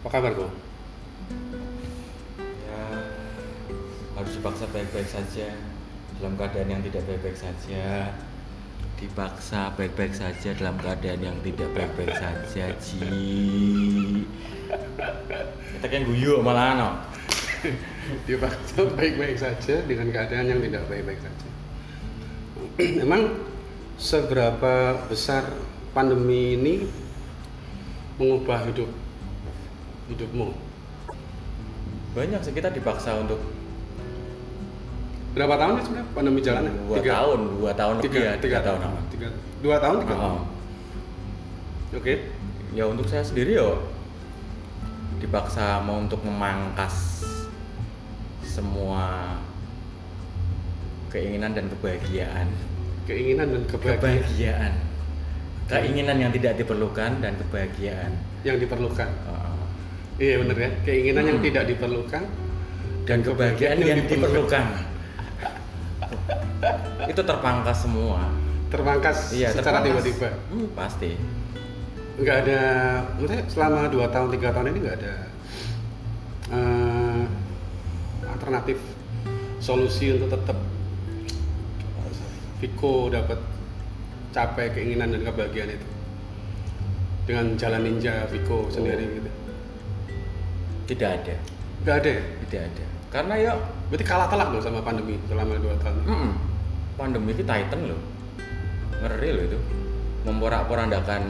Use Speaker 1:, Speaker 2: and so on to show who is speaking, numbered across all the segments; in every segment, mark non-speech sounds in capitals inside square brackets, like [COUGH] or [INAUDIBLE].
Speaker 1: Apa kabar bro?
Speaker 2: ya harus dipaksa baik-baik saja dalam keadaan yang tidak baik-baik saja dipaksa baik-baik saja dalam keadaan yang tidak baik-baik saja ji kita kan guyu malah no
Speaker 1: Dipaksa Ya, baik-baik saja dengan keadaan yang tidak baik-baik saja. [CLEARS THROAT] Emang seberapa besar pandemi ini mengubah hidup hidupmu?
Speaker 2: banyak sih kita dipaksa untuk
Speaker 1: Berapa tahun sih sebenarnya pandemi jalannya?
Speaker 2: dua tahun dua tahun
Speaker 1: Tiga,
Speaker 2: lebih ya,
Speaker 1: tiga tahun.
Speaker 2: awal.
Speaker 1: Tiga, dua tahun, tiga tahun.
Speaker 2: Oh.
Speaker 1: Oke.
Speaker 2: ya untuk saya sendiri ya dipaksa mau untuk memangkas semua keinginan dan kebahagiaan
Speaker 1: Keinginan dan kebahagiaan
Speaker 2: kebahagiaan keinginan yang tidak diperlukan dan kebahagiaan
Speaker 1: yang diperlukan.
Speaker 2: Uh,
Speaker 1: Iya bener ya. Keinginan yang tidak diperlukan.
Speaker 2: dan kebahagiaan
Speaker 1: Kebahagiaan yang
Speaker 2: yang diperlukan [LAUGHS] itu terpangkas semua
Speaker 1: Terpangkas
Speaker 2: iya
Speaker 1: secara
Speaker 2: terpangkas.
Speaker 1: tiba-tiba.
Speaker 2: Hmm, pasti
Speaker 1: nggak ada maksudnya selama dua tahun tiga tahun ini nggak ada eh, alternatif solusi untuk tetap Viko dapat capai keinginan dan kebahagiaan itu dengan jalan ninja Viko sendiri
Speaker 2: Oh.
Speaker 1: gitu
Speaker 2: tidak ada
Speaker 1: nggak ada ya?
Speaker 2: tidak ada karena ya
Speaker 1: berarti kalah telak dong sama pandemi selama dua tahun ini.
Speaker 2: Mm-mm. Pandemi itu Titan loh. Ngeri loh itu. Memporak-porandakan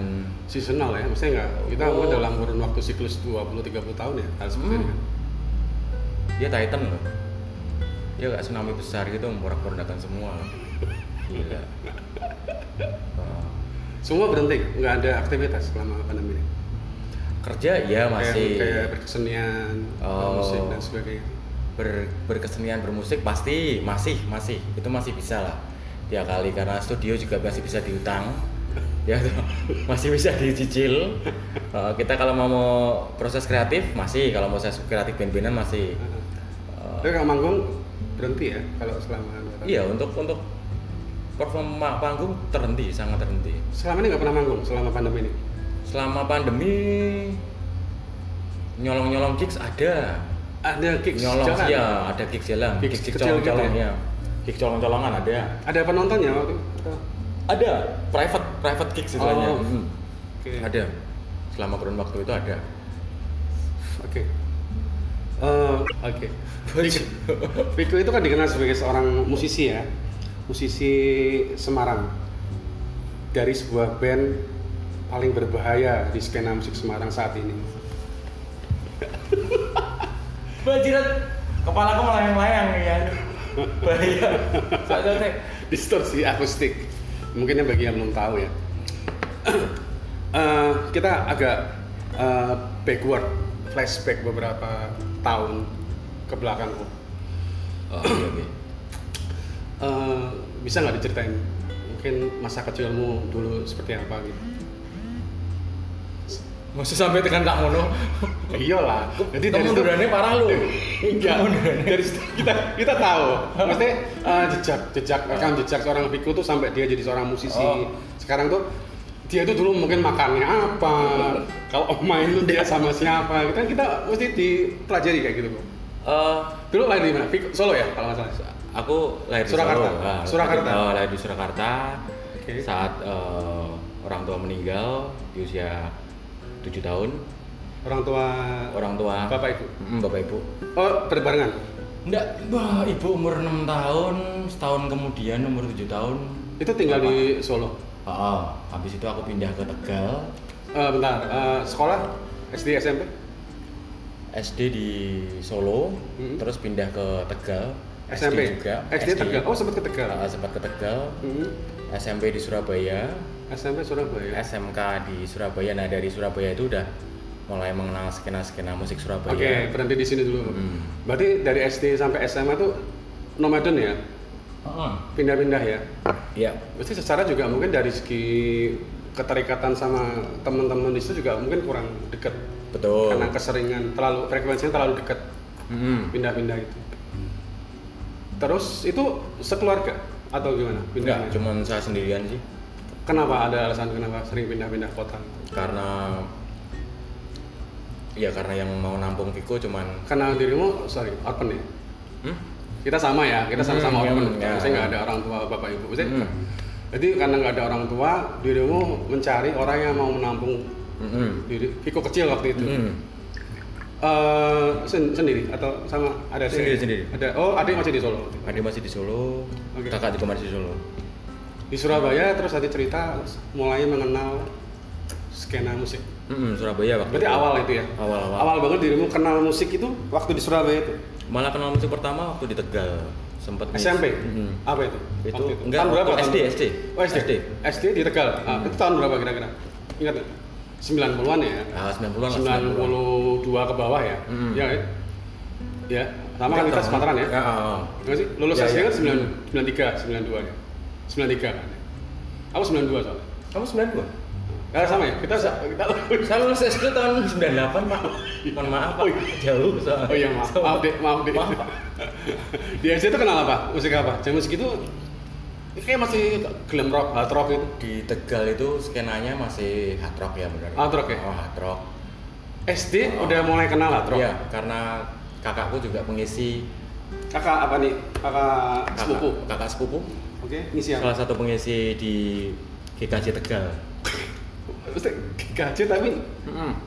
Speaker 1: seasonal ya maksudnya nggak kita
Speaker 2: Oh.
Speaker 1: dalam kurun waktu siklus 20-30 tahun ya harus seperti
Speaker 2: Hmm.
Speaker 1: ini kan
Speaker 2: dia ya Titan loh. Dia kayak tsunami besar gitu memporak-porandakan semua.
Speaker 1: [LAUGHS]
Speaker 2: Gila. Oh.
Speaker 1: semua berhenti nggak ada aktivitas selama pandemi ini
Speaker 2: Kerja ya masih
Speaker 1: kayak, kayak berkesenian
Speaker 2: Oh.
Speaker 1: musik dan sebagainya
Speaker 2: ber, berkesenian bermusik pasti masih masih itu masih bisa lah tiap kali karena studio juga masih bisa diutang ya masih bisa dicicil Eh, kita kalau mau, mau proses kreatif masih kalau mau proses kreatif band-bandan masih Eh,
Speaker 1: tapi kalau manggung berhenti ya kalau selama dua tahun
Speaker 2: Iya untuk untuk perform ma- panggung terhenti sangat terhenti.
Speaker 1: selama ini nggak pernah manggung selama pandemi ini
Speaker 2: Selama pandemi nyolong nyolong gigs ada,
Speaker 1: ada gigs
Speaker 2: nyolong
Speaker 1: jalan
Speaker 2: ya ada gigs jalan,
Speaker 1: Gigs
Speaker 2: gigs gigs
Speaker 1: kecil
Speaker 2: colong
Speaker 1: gitu
Speaker 2: colong
Speaker 1: ya?
Speaker 2: ya, gigs colong colongan ada,
Speaker 1: ada ya? penontonnya waktu itu? Atau-
Speaker 2: ada private private gigs
Speaker 1: Oh.
Speaker 2: istilahnya. Mm.
Speaker 1: oke
Speaker 2: Ada selama kurun waktu itu ada.
Speaker 1: oke Eh, oke Viko- Viko itu kan dikenal sebagai seorang musisi ya musisi Semarang dari sebuah band paling berbahaya di skena musik Semarang saat ini
Speaker 2: Bajirat kepala aku melayang-layang
Speaker 1: iya.
Speaker 2: ya. Bahaya. Soalnya saya-
Speaker 1: [LAUGHS] distorsi akustik mungkin yang bagi yang belum tahu ya [CLEARS THROAT] Eh, kita agak eh, backward flashback beberapa tahun ke belakang Bu.
Speaker 2: Oh, oke, oke.
Speaker 1: Eh, bisa nggak diceritain mungkin masa kecilmu dulu seperti apa gitu
Speaker 2: Maksud sampai tekan kak Mono.
Speaker 1: iyalah jadi dari situ-
Speaker 2: Kemundurannya parah lu.
Speaker 1: Enggak. dari situ kita kita tahu maksudnya eh, jejak jejak rekam jejak seorang Viko tuh sampai dia jadi seorang musisi
Speaker 2: Oh.
Speaker 1: sekarang tuh dia tuh dulu mungkin makannya apa kalau main tuh dia sama siapa kan kita mesti dipelajari kayak gitu kok
Speaker 2: Eh,
Speaker 1: dulu lahir di mana Viko Solo ya kalau nggak salah
Speaker 2: aku lahir di
Speaker 1: Surakarta.
Speaker 2: Solo. Ah,
Speaker 1: Surakarta.
Speaker 2: Oh, lahir di Surakarta.
Speaker 1: Oke.
Speaker 2: Saat eh, orang tua meninggal di usia 7 tahun,
Speaker 1: orang tua
Speaker 2: orang tua
Speaker 1: bapak ibu
Speaker 2: Mm, bapak ibu.
Speaker 1: oh berbarengan
Speaker 2: Enggak, bah, ibu umur 6 tahun, setahun kemudian umur 7 tahun.
Speaker 1: itu tinggal di Solo
Speaker 2: Oh, oh. habis itu aku pindah ke Tegal,
Speaker 1: Eh, bentar Eh, sekolah SD SMP
Speaker 2: SD di Solo,
Speaker 1: Mm.
Speaker 2: terus pindah ke Tegal,
Speaker 1: SMP
Speaker 2: SD juga.
Speaker 1: SD Tegal oh sempat ke Tegal
Speaker 2: Ah, sempat ke Tegal,
Speaker 1: Mhm.
Speaker 2: SMP di Surabaya,
Speaker 1: SMP Surabaya
Speaker 2: SMK di Surabaya. Nah dari Surabaya itu udah mulai mengenal skena-skena musik Surabaya.
Speaker 1: Oke, berhenti di sini dulu.
Speaker 2: Iya. Hmm.
Speaker 1: Berarti dari SD sampai SMA tuh nomaden ya,
Speaker 2: Heeh.
Speaker 1: pindah-pindah ya.
Speaker 2: Iya.
Speaker 1: Pasti secara juga mungkin dari segi keterikatan sama teman-teman di situ juga mungkin kurang dekat
Speaker 2: betul.
Speaker 1: karena keseringan terlalu frekuensinya terlalu dekat
Speaker 2: Mm-mm.
Speaker 1: pindah-pindah itu.
Speaker 2: Hmm.
Speaker 1: Terus itu sekeluarga atau gimana?
Speaker 2: Enggak,
Speaker 1: Pindah.
Speaker 2: cuman saya sendirian sih.
Speaker 1: Kenapa ada alasan kenapa sering pindah-pindah kota?
Speaker 2: Karena ya karena yang mau nampung Viko cuman
Speaker 1: Karena dirimu, sorry, orphan ya?
Speaker 2: hmm?
Speaker 1: Kita sama ya, kita sama-sama
Speaker 2: Hmm,
Speaker 1: orphan.
Speaker 2: ya.
Speaker 1: Maksudnya nggak ada orang tua, bapak ibu. Maksudnya,
Speaker 2: Hmm.
Speaker 1: Jadi karena nggak ada orang tua, dirimu mencari orang yang mau menampung
Speaker 2: Mm-mm.
Speaker 1: diri. Viko kecil waktu itu.
Speaker 2: Mm-mm.
Speaker 1: Eh, sen- sendiri atau sama ada adik?
Speaker 2: Sendiri, sendiri.
Speaker 1: Ada. Oh, adik masih di Solo.
Speaker 2: Adik masih di Solo,
Speaker 1: Oke.
Speaker 2: kakak juga masih di Solo.
Speaker 1: Di Surabaya terus tadi cerita mulai mengenal skena musik.
Speaker 2: Mm-mm, Surabaya waktu
Speaker 1: Berarti
Speaker 2: itu.
Speaker 1: awal itu ya?
Speaker 2: Awal, awal.
Speaker 1: Awal banget dirimu kenal musik itu waktu di Surabaya itu?
Speaker 2: Malah kenal musik pertama waktu di Tegal, sempat ngisi.
Speaker 1: SMP?
Speaker 2: Mm-mm.
Speaker 1: Apa itu?
Speaker 2: Mm-hmm. Itu
Speaker 1: Waktu
Speaker 2: enggak,
Speaker 1: tahun berapa?
Speaker 2: waktu
Speaker 1: tahun
Speaker 2: SD,
Speaker 1: berapa?
Speaker 2: SD.
Speaker 1: Oh SD? SD,
Speaker 2: SD.
Speaker 1: di Tegal? Ah, itu tahun berapa kira-kira? Ingat nggak? 90-an ya?
Speaker 2: Ah, 90-an lah.
Speaker 1: 92 ke bawah ya?
Speaker 2: Mm.
Speaker 1: Ya, kan? ya. Sama kan kita Sumatera ya?
Speaker 2: Ya, ah, ah.
Speaker 1: Enggak sih? Lulus
Speaker 2: Ya,
Speaker 1: SD
Speaker 2: ya.
Speaker 1: kan 9, 93, 92 ya? 93 kan? Aku 92 soalnya.
Speaker 2: Kamu 92?
Speaker 1: Ya sama ya? Kita, kita
Speaker 2: Saya lulus SD tahun 98, Pak. Mohon maaf, Pak.
Speaker 1: Oh, iya.
Speaker 2: Jauh soalnya.
Speaker 1: Oh iya maaf,
Speaker 2: Soalnya-
Speaker 1: maaf deh, maaf deh.
Speaker 2: Maaf, Pak.
Speaker 1: di SD itu kenal apa? Musik apa? Jam musik itu kayak masih glam rock, hard rock gitu. itu.
Speaker 2: Di Tegal itu skenanya masih hard rock ya benar.
Speaker 1: Hard rock ya?
Speaker 2: Oh, hard rock.
Speaker 1: SD
Speaker 2: Oh.
Speaker 1: udah mulai kenal hard rock.
Speaker 2: Iya, karena kakakku juga pengisi
Speaker 1: Kakak apa nih? Kakak
Speaker 2: kakak
Speaker 1: sepupu. Iya.
Speaker 2: kakak sepupu
Speaker 1: Oke, ngisi apa?
Speaker 2: salah satu pengisi di GKJ Tegal.
Speaker 1: Maksudnya gaji tapi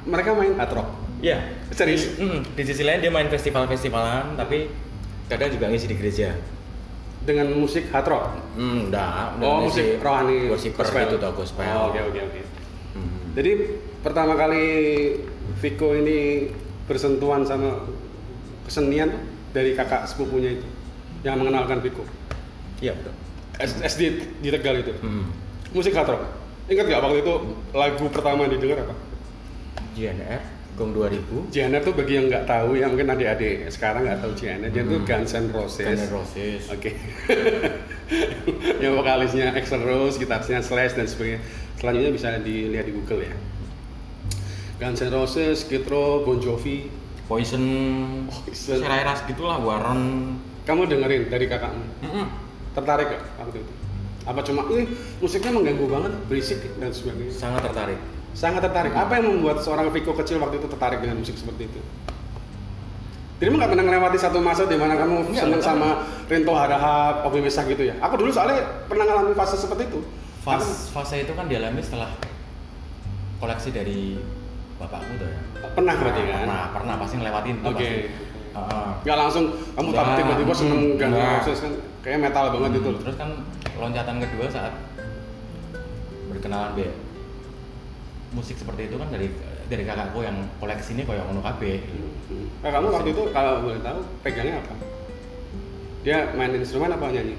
Speaker 1: mereka main hard rock.
Speaker 2: Iya.
Speaker 1: Serius?
Speaker 2: Di, mm, di sisi lain dia main festival-festivalan, tapi kadang juga ngisi di gereja.
Speaker 1: dengan musik hard rock.
Speaker 2: Hmm, enggak.
Speaker 1: Oh, musik rohani,
Speaker 2: Gospel
Speaker 1: gospel.
Speaker 2: gitu toh, gospel.
Speaker 1: Oh, Oke, oke, oke.
Speaker 2: Hmm.
Speaker 1: Jadi pertama kali Viko ini bersentuhan sama kesenian dari kakak sepupunya itu yang mengenalkan Viko.
Speaker 2: Iya, betul.
Speaker 1: S- SD di Tegal itu.
Speaker 2: Hmm.
Speaker 1: Musik hard rock. Ingat nggak waktu itu lagu pertama yang didengar apa?
Speaker 2: JNF Gong 2000
Speaker 1: JNR tuh bagi yang nggak tahu ya mungkin adik-adik sekarang nggak tahu JNR. Dia tuh
Speaker 2: Hmm.
Speaker 1: Guns N' Roses.
Speaker 2: Guns N' Roses.
Speaker 1: Oke. [LAUGHS] yang vokalisnya Axl Rose, gitarisnya Slash dan sebagainya. Selanjutnya bisa dilihat di Google ya. Guns N' Roses, Skid Row, Bon Jovi.
Speaker 2: Poison,
Speaker 1: Poison.
Speaker 2: Serai Ras gitulah Warren.
Speaker 1: Kamu dengerin dari kakakmu.
Speaker 2: Mm-mm.
Speaker 1: Tertarik gak waktu itu? Apa cuma ini musiknya mengganggu banget, berisik dan sebagainya.
Speaker 2: Sangat tertarik.
Speaker 1: Sangat tertarik. Apa yang membuat seorang Viko kecil waktu itu tertarik dengan musik seperti itu? Dirimu nggak pernah melewati satu masa di mana kamu
Speaker 2: Nggak,
Speaker 1: seneng
Speaker 2: nggak
Speaker 1: sama Rinto Harahap, Obi Mesak gitu ya? Aku dulu soalnya pernah ngalamin fase seperti itu.
Speaker 2: Fas- fase itu kan dialami setelah koleksi dari bapakku tuh ya.
Speaker 1: Aku pernah berarti kan?
Speaker 2: Pernah, pernah pasti ngelewatin itu
Speaker 1: Oke.
Speaker 2: pasti. Heeh.
Speaker 1: Nggak langsung kamu tahu
Speaker 2: Nggak.
Speaker 1: tiba-tiba seneng
Speaker 2: Hmm,
Speaker 1: Guns N'
Speaker 2: nggak.
Speaker 1: Roses kan kayak metal banget itu. loh.
Speaker 2: Terus kan loncatan kedua saat berkenalan be musik seperti itu kan dari dari kakakku yang koleksi ini kayak ngono kabeh. Hmm.
Speaker 1: Nah, kamu waktu itu kalau boleh tahu pegangnya apa? Dia main instrumen apa nyanyi?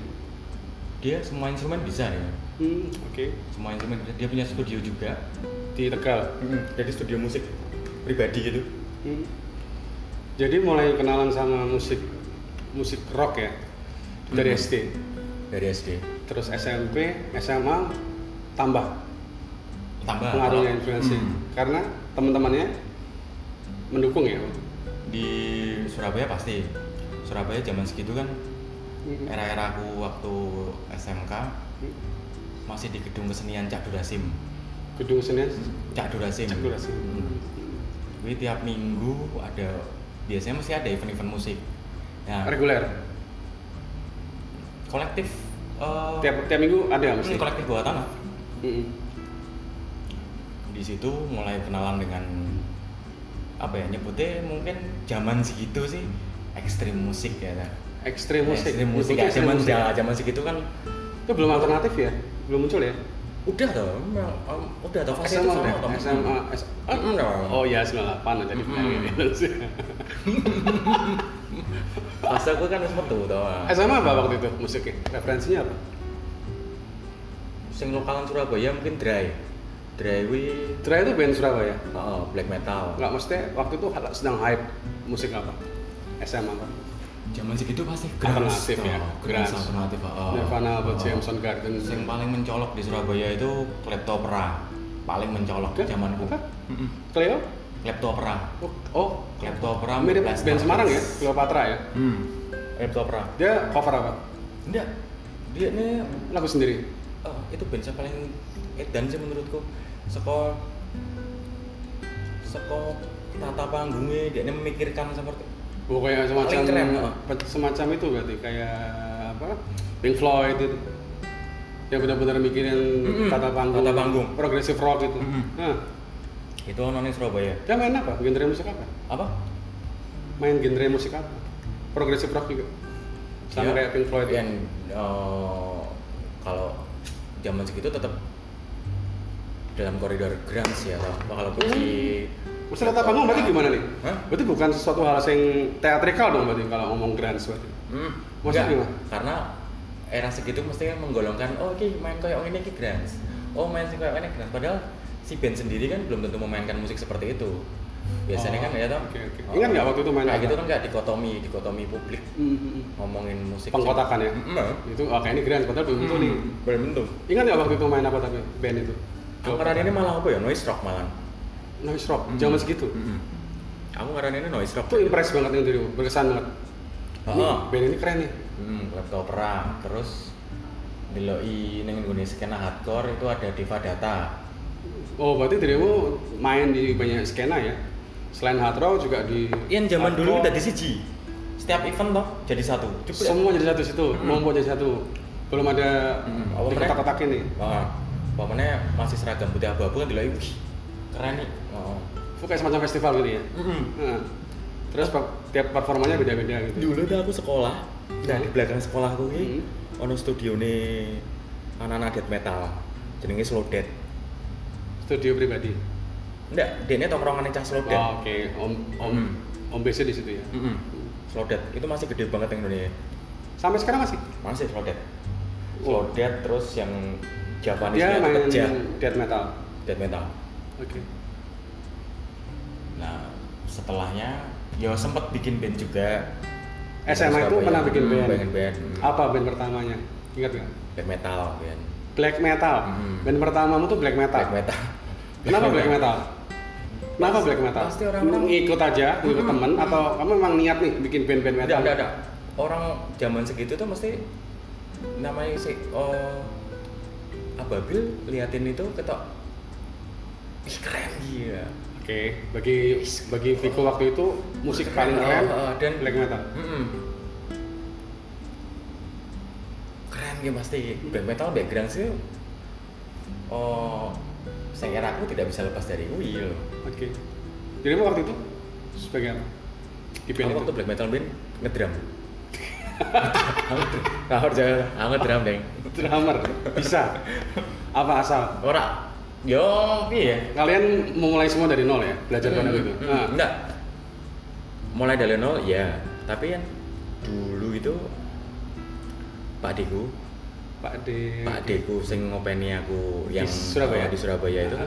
Speaker 2: Dia semua instrumen bisa ya.
Speaker 1: Hmm, oke.
Speaker 2: Semua instrumen bisa. Dia punya studio juga.
Speaker 1: Di Tegal.
Speaker 2: Jadi studio musik pribadi gitu.
Speaker 1: Hmm. Jadi mulai kenalan sama musik musik rock ya dari
Speaker 2: Hmm.
Speaker 1: SD,
Speaker 2: Dari SD.
Speaker 1: terus SMP, SMA tambah
Speaker 2: Tambah
Speaker 1: pengaruhnya
Speaker 2: Nah, kalau-
Speaker 1: influensi
Speaker 2: Hmm.
Speaker 1: karena teman-temannya mendukung ya.
Speaker 2: di Surabaya pasti. Surabaya zaman segitu kan
Speaker 1: Hmm.
Speaker 2: era-era aku waktu SMK masih di gedung kesenian Cak Durasim.
Speaker 1: Gedung senian
Speaker 2: Cak Durasim.
Speaker 1: Cak Durasim.
Speaker 2: Hmm. Jadi tiap minggu ada biasanya mesti ada event-event musik. Nah,
Speaker 1: reguler.
Speaker 2: kolektif eh,
Speaker 1: Tiap tiap minggu ada Hmm.
Speaker 2: hmm,
Speaker 1: mesti.
Speaker 2: kolektif bawah tanah.
Speaker 1: Mm-mm.
Speaker 2: Di situ mulai kenalan dengan apa ya nyebutnya mungkin zaman segitu sih ekstrim musik ya. Nah.
Speaker 1: Ekstrim musik.
Speaker 2: Ekstrim musik
Speaker 1: Nyebutnya
Speaker 2: ya,
Speaker 1: ekstrim
Speaker 2: zaman
Speaker 1: musik.
Speaker 2: zaman zaman segitu kan
Speaker 1: Itu belum alternatif ya? Belum muncul ya?
Speaker 2: udah toh, em- em- udah toh fase itu
Speaker 1: SMA,
Speaker 2: sama toh.
Speaker 1: SMA, S-
Speaker 2: Mm, mm, dong.
Speaker 1: Oh ya 98 jadi
Speaker 2: Mm-mm.
Speaker 1: penyanyi.
Speaker 2: Fase aku kan harus metu toh.
Speaker 1: SMA apa waktu itu musiknya? Referensinya apa?
Speaker 2: Sing lokalan Surabaya mungkin dry. Dry wi
Speaker 1: Dry itu band Surabaya.
Speaker 2: oh, black metal.
Speaker 1: Enggak mesti waktu itu sedang hype musik apa? SMA apa?
Speaker 2: Zaman segitu pasti
Speaker 1: Alternatif ya, grunge.
Speaker 2: grunge alternatif. Oh.
Speaker 1: Nirvana apa
Speaker 2: Oh.
Speaker 1: Jameson Garden?
Speaker 2: Yang paling mencolok di Surabaya itu Kleptopera. Paling mencolok
Speaker 1: Apa?
Speaker 2: zamanku.
Speaker 1: Apa? Cleo?
Speaker 2: Kleptopera.
Speaker 1: Oh,
Speaker 2: Kleptopera
Speaker 1: mirip
Speaker 2: Blaster
Speaker 1: band Semarang ya,
Speaker 2: Kids.
Speaker 1: Cleopatra ya.
Speaker 2: Hmm. Kleptopera.
Speaker 1: Dia cover apa?
Speaker 2: Enggak. Dia ini
Speaker 1: Lagu sendiri.
Speaker 2: oh, itu band yang paling edan sih menurutku. Seko Seko tata panggungnya dia memikirkan seperti
Speaker 1: Oh, kayak semacam
Speaker 2: Paling keren, Pak.
Speaker 1: pe- semacam itu berarti kayak apa? Pink Floyd itu. Yang benar-benar mikirin
Speaker 2: Mm-mm.
Speaker 1: tata panggung.
Speaker 2: Tata panggung.
Speaker 1: Progressive rock itu.
Speaker 2: Mm-mm.
Speaker 1: Nah,
Speaker 2: itu nonton Surabaya
Speaker 1: dia main apa? Genre musik apa?
Speaker 2: apa
Speaker 1: Main genre musik apa? Progressive rock juga. Sama
Speaker 2: Dia-
Speaker 1: kayak Pink Floyd.
Speaker 2: yang eh, kalau zaman segitu tetap dalam koridor grunge ya kalau- kalau kunci
Speaker 1: Mesti tata panggung berarti gimana nih?
Speaker 2: Hah?
Speaker 1: Berarti bukan sesuatu hal yang teatrikal dong berarti kalau ngomong grand berarti.
Speaker 2: Hmm,
Speaker 1: Maksudnya
Speaker 2: enggak.
Speaker 1: gimana?
Speaker 2: karena era segitu mesti kan menggolongkan oh ki main koyok ini ki grunge oh main sing koyok ini grunge padahal si band sendiri kan belum tentu memainkan musik seperti itu biasanya
Speaker 1: Oh,
Speaker 2: kan ya toh
Speaker 1: oke, oke. Ingat nggak waktu itu main
Speaker 2: kayak
Speaker 1: apa?
Speaker 2: gitu kan nggak dikotomi dikotomi publik
Speaker 1: Mm-mm.
Speaker 2: ngomongin musik
Speaker 1: Pengkotakan ya?
Speaker 2: Mm, mm.
Speaker 1: Itu oh, kayak ini grand padahal belum tentu nih.
Speaker 2: belum tentu
Speaker 1: Ingat nggak waktu itu main apa tapi band itu?
Speaker 2: aku ngaraninnya malah apa ya noise rock malah
Speaker 1: noise rock
Speaker 2: Mm.
Speaker 1: Hmm. zaman segitu.
Speaker 2: aku ngaraninnya noise rock
Speaker 1: Itu impress banget yang dirimu, berkesan banget.
Speaker 2: Heeh.
Speaker 1: Ini band ini keren nih.
Speaker 2: Hmm, laptop opera terus deloi neng Indonesia skena hardcore itu ada Diva Data.
Speaker 1: Oh, berarti dirimu main di banyak skena ya. Selain hard rock juga di
Speaker 2: Ian zaman dulu
Speaker 1: hardcore.
Speaker 2: udah di siji. Setiap event toh jadi satu. Cepet. ya?
Speaker 1: semua jadi satu situ,
Speaker 2: Mm.
Speaker 1: mau buat jadi satu. Belum ada
Speaker 2: Mm. Apa
Speaker 1: dikotak-kotak ini.
Speaker 2: Wah, pamannya masih seragam putih abu-abu kan deloi. Wih, keren nih. Oh.
Speaker 1: Itu kayak semacam festival gitu ya. Nah, terus per- tiap performanya beda-beda gitu.
Speaker 2: Dulu tuh aku sekolah. Nah, di belakang sekolahku ini ono studio nih anak-anak death metal. Jenenge slow death.
Speaker 1: Studio pribadi.
Speaker 2: Enggak, dene tongkrongan cah slow death.
Speaker 1: Oh, Oke, Om Om
Speaker 2: Hmm.
Speaker 1: Om BC di situ ya.
Speaker 2: Mm-mm. Slow death itu masih gede banget yang Indonesia.
Speaker 1: Sampai sekarang masih.
Speaker 2: Masih slow death.
Speaker 1: Oh.
Speaker 2: Slow death terus yang Japanese
Speaker 1: Dia
Speaker 2: itu
Speaker 1: main
Speaker 2: kerja
Speaker 1: death metal.
Speaker 2: death metal.
Speaker 1: Oke.
Speaker 2: Nah, setelahnya ya sempat bikin band juga.
Speaker 1: SMA itu
Speaker 2: Surabaya.
Speaker 1: pernah bikin
Speaker 2: Hmm,
Speaker 1: band.
Speaker 2: bikin band. Hmm.
Speaker 1: Apa band pertamanya? Ingat nggak?
Speaker 2: Black metal band.
Speaker 1: Black metal.
Speaker 2: Hmm.
Speaker 1: Band pertamamu tuh black metal.
Speaker 2: Black metal. Iya,
Speaker 1: Kenapa black
Speaker 2: [LAUGHS]
Speaker 1: metal? Kenapa black metal?
Speaker 2: pasti orang-orang-
Speaker 1: Lu ikut aja, ikut
Speaker 2: Hmm.
Speaker 1: temen, atau kamu emang niat nih bikin band-band metal?
Speaker 2: Enggak, enggak, enggak. Orang zaman segitu tuh mesti namanya si oh, Ababil liatin itu ketok Ih keren iya.
Speaker 1: Oke, bagi bagi Viko waktu itu musik paling keren
Speaker 2: Oh, oh,
Speaker 1: dan
Speaker 2: dan
Speaker 1: black metal.
Speaker 2: Mm-mm. Keren ya pasti. Black metal background sih. Oh, saya kira aku tidak bisa lepas dari Will.
Speaker 1: Oke. Jadi kamu waktu itu sebagai apa? Di band
Speaker 2: Aku
Speaker 1: itu.
Speaker 2: waktu black metal band
Speaker 1: [LAUGHS]
Speaker 2: ngedrum. Aku jangan, aku ngedrum deng.
Speaker 1: Drummer bisa. apa asal?
Speaker 2: Ora, yo, iya.
Speaker 1: Kalian memulai semua dari nol ya, belajar
Speaker 2: Hmm,
Speaker 1: pada itu.
Speaker 2: hmm,
Speaker 1: Nah,
Speaker 2: Enggak. Mulai dari nol ya, tapi kan dulu itu Pak Deku,
Speaker 1: Pak De.
Speaker 2: Pak Deku sing ngopeni aku
Speaker 1: Di
Speaker 2: yang
Speaker 1: Surabaya?
Speaker 2: eh, di Surabaya itu
Speaker 1: Ah.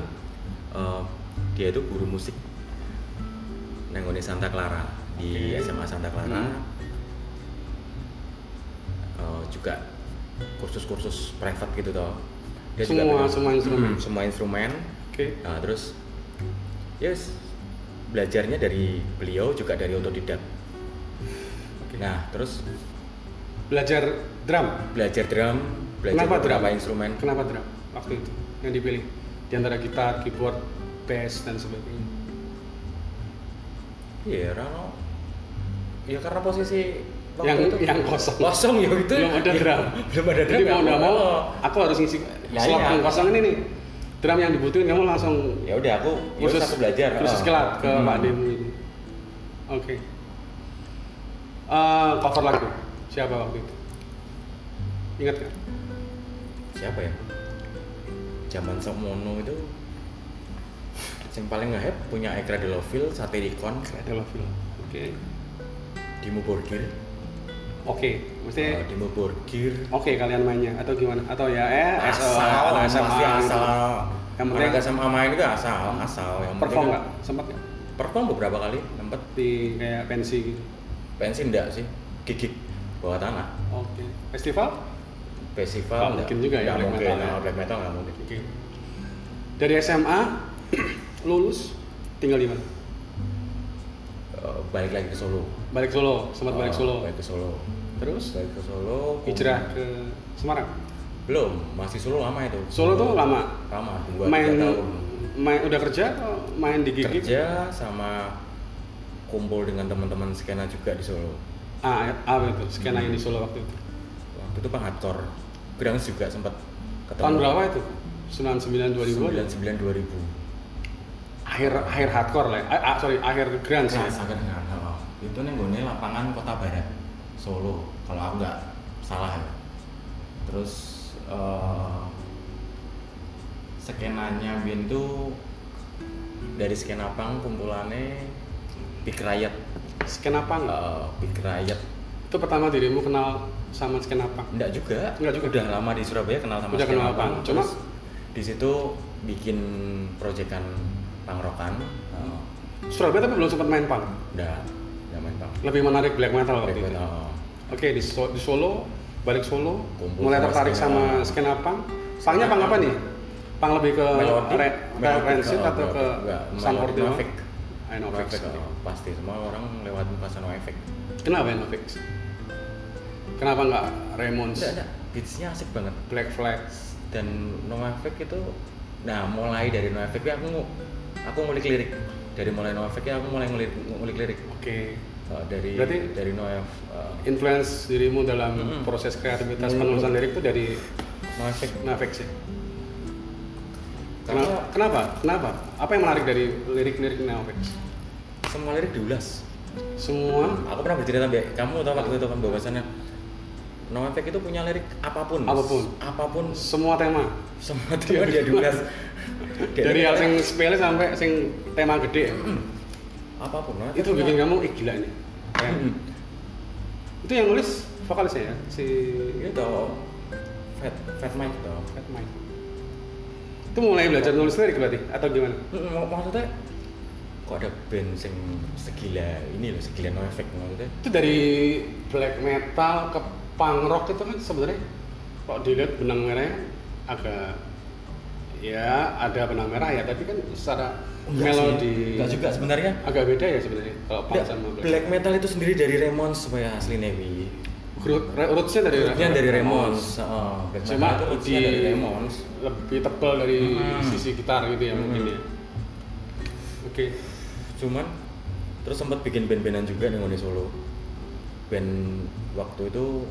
Speaker 2: eh, dia itu guru musik nanggone Santa Clara
Speaker 1: Oke.
Speaker 2: di SMA Santa Clara
Speaker 1: Hmm.
Speaker 2: Eh, juga kursus-kursus private gitu toh
Speaker 1: Semua-
Speaker 2: bilang,
Speaker 1: semua instrumen?
Speaker 2: "Mm, semua instrumen
Speaker 1: Oke.
Speaker 2: Nah, terus yes belajarnya dari beliau juga dari otodidak nah terus
Speaker 1: Belajar drum.
Speaker 2: belajar drum belajar
Speaker 1: Kenapa
Speaker 2: beberapa
Speaker 1: drum?
Speaker 2: instrumen
Speaker 1: Kenapa drum waktu itu yang dipilih di antara gitar, keyboard, bass dan sebagainya.
Speaker 2: Iya, Rano. Ya karena posisi waktu
Speaker 1: Yang-
Speaker 2: itu
Speaker 1: yang kosong.
Speaker 2: Kosong ya itu.
Speaker 1: Belum ada
Speaker 2: Ya,
Speaker 1: drum.
Speaker 2: [LAUGHS] Belum ada drum.
Speaker 1: Jadi
Speaker 2: ya,
Speaker 1: mau nggak mau,
Speaker 2: oh.
Speaker 1: aku harus ngisi
Speaker 2: Ya,
Speaker 1: slot
Speaker 2: iya.
Speaker 1: yang kosong ini nih. Drum yang dibutuhin kamu langsung
Speaker 2: Ya udah aku khusus aku belajar.
Speaker 1: khusus
Speaker 2: oh.
Speaker 1: kelat ke
Speaker 2: Hmm.
Speaker 1: Pak Demi ini. Oke. Eh, cover lagu siapa waktu itu? Ingat nggak?
Speaker 2: Siapa ya? Zaman Semono itu yang paling nge punya Ekra Deloville, Satiricon,
Speaker 1: Ada Lovil. Oke.
Speaker 2: Dimo Borgir.
Speaker 1: Oke. Mesti
Speaker 2: Eh, Dimo Borgir.
Speaker 1: oke kalian mainnya atau gimana? Atau ya eh SOA atau
Speaker 2: asal,
Speaker 1: SMA
Speaker 2: pasti
Speaker 1: gitu.
Speaker 2: asal.
Speaker 1: Yang
Speaker 2: Yang
Speaker 1: penting-
Speaker 2: penting SMA main itu asal, asal. Yang penting
Speaker 1: Perform
Speaker 2: kan-
Speaker 1: nggak? Sempat nggak?
Speaker 2: Perform beberapa kali, sempet.
Speaker 1: di kayak pensi gitu.
Speaker 2: pensi enggak sih gigik bawah tanah
Speaker 1: Oke. Festival?
Speaker 2: festival
Speaker 1: Nggak
Speaker 2: enggak.
Speaker 1: mungkin juga ya,
Speaker 2: Nggak
Speaker 1: black
Speaker 2: mungkin,
Speaker 1: metal ya.
Speaker 2: nah, black metal nggak mungkin
Speaker 1: Oke. Dari SMA [CLEARS THROAT] lulus tinggal di mana?
Speaker 2: Eh, balik lagi ke Solo
Speaker 1: Balik Solo, sempat balik
Speaker 2: Eh,
Speaker 1: Solo.
Speaker 2: balik ke Solo
Speaker 1: Terus
Speaker 2: balik ke Solo
Speaker 1: hijrah ke Semarang.
Speaker 2: belum masih Solo lama itu
Speaker 1: Solo tuh lama.
Speaker 2: lama dua
Speaker 1: main
Speaker 2: tiga tahun
Speaker 1: main udah kerja atau main di gig?
Speaker 2: kerja sama kumpul dengan teman-teman skena juga di Solo
Speaker 1: Ah, ah itu skena yang di Solo waktu itu.
Speaker 2: waktu itu pengacor Grang juga sempat ketemu
Speaker 1: Tahun berapa itu? 99 2000
Speaker 2: 99 2000
Speaker 1: ya? akhir akhir hardcore lah. ya. Ah, ah, sorry, akhir grunge.
Speaker 2: Nah,
Speaker 1: ya.
Speaker 2: Sagar Nggak tahu. Itu nih gue lapangan Kota Barat Solo kalau aku nggak salah ya. Terus eh, skenanya Bin tuh dari skena pang kumpulannya Big Riot,
Speaker 1: Skena punk nggak?
Speaker 2: Eh, Big Riot.
Speaker 1: Itu pertama dirimu kenal sama skena punk.
Speaker 2: Enggak juga.
Speaker 1: Nggak juga.
Speaker 2: Udah lama di Surabaya kenal sama
Speaker 1: Udah
Speaker 2: skena
Speaker 1: kenal punk. Cuma-
Speaker 2: Terus di situ bikin proyekan pangrokan. Eh,
Speaker 1: Surabaya tapi belum sempat main punk.
Speaker 2: udah, udah main pang. eh.
Speaker 1: Lebih menarik black metal waktu itu.
Speaker 2: Black metal.
Speaker 1: Oke, di, So- di Solo, balik Solo,
Speaker 2: Kumpul
Speaker 1: mulai
Speaker 2: sama
Speaker 1: tertarik
Speaker 2: skena
Speaker 1: sama
Speaker 2: punk.
Speaker 1: skena punk. Punknya punk apa nih? Punk lebih ke
Speaker 2: Melodic?
Speaker 1: red, ke
Speaker 2: Melodic,
Speaker 1: rancid
Speaker 2: oh,
Speaker 1: atau ke
Speaker 2: melodic. Nggak,
Speaker 1: Sanforti?
Speaker 2: melodic, Novik.
Speaker 1: Enovix.
Speaker 2: Efek, oh, pasti semua orang lewat Pasano Efek.
Speaker 1: Kenapa Enovix? Kenapa nggak Raymond's?
Speaker 2: Enggak, enggak. Beatsnya asik banget.
Speaker 1: Black Flag.
Speaker 2: Dan No Effect itu, nah mulai dari No Effect aku ngu- aku ngulik lirik. Dari mulai No Effect aku mulai ngulik, ngulik lirik.
Speaker 1: Oke.
Speaker 2: Oh, dari
Speaker 1: Berarti-
Speaker 2: dari No Effect, uh,
Speaker 1: Influence dirimu dalam
Speaker 2: Mm-mm.
Speaker 1: proses kreativitas
Speaker 2: Mm.
Speaker 1: penulisan lirik itu dari
Speaker 2: No Effect.
Speaker 1: Nafex ya.
Speaker 2: Karena
Speaker 1: Kenapa? Kenapa? Kenapa? Apa yang menarik dari lirik-lirik Nafex?
Speaker 2: semua lirik diulas.
Speaker 1: Semua
Speaker 2: Aku pernah bercerita sama kamu tau waktu itu kan bahwasannya No Effect itu punya lirik apapun.
Speaker 1: Apapun.
Speaker 2: Apapun
Speaker 1: semua tema [LAUGHS]
Speaker 2: semua tema dia diulas.
Speaker 1: dari hal sing sepele sampai sing tema gede
Speaker 2: apapun No Effect
Speaker 1: itu
Speaker 2: punya-
Speaker 1: bikin kamu ih gila ini Kayak,
Speaker 2: Hmm.
Speaker 1: itu yang nulis vokalisnya ya si
Speaker 2: Ini tau Iya Fat Fat Mike tau.
Speaker 1: Fat Mike itu mulai belajar nulis lirik berarti atau gimana
Speaker 2: Mm, mak- Maksudnya kok ada band sing segila ini loh segila no effect maksudnya
Speaker 1: itu dari black metal ke punk rock itu kan sebenarnya kalau dilihat benang merahnya agak ya ada benang merah ya tapi kan secara melodi
Speaker 2: Enggak juga sebenarnya
Speaker 1: agak beda ya sebenarnya kalau punk
Speaker 2: Nggak,
Speaker 1: sama black,
Speaker 2: black metal itu sendiri dari Ramones ya, supaya asli Nevi
Speaker 1: Root- rootsnya dari
Speaker 2: Nya dari Ramones heeh. Black
Speaker 1: cuma di
Speaker 2: metal itu rootsnya dari Ramones
Speaker 1: lebih tebal dari
Speaker 2: Hmm.
Speaker 1: sisi gitar gitu ya mungkin ya oke
Speaker 2: cuman terus sempat bikin band-bandan juga dengan di Solo band waktu itu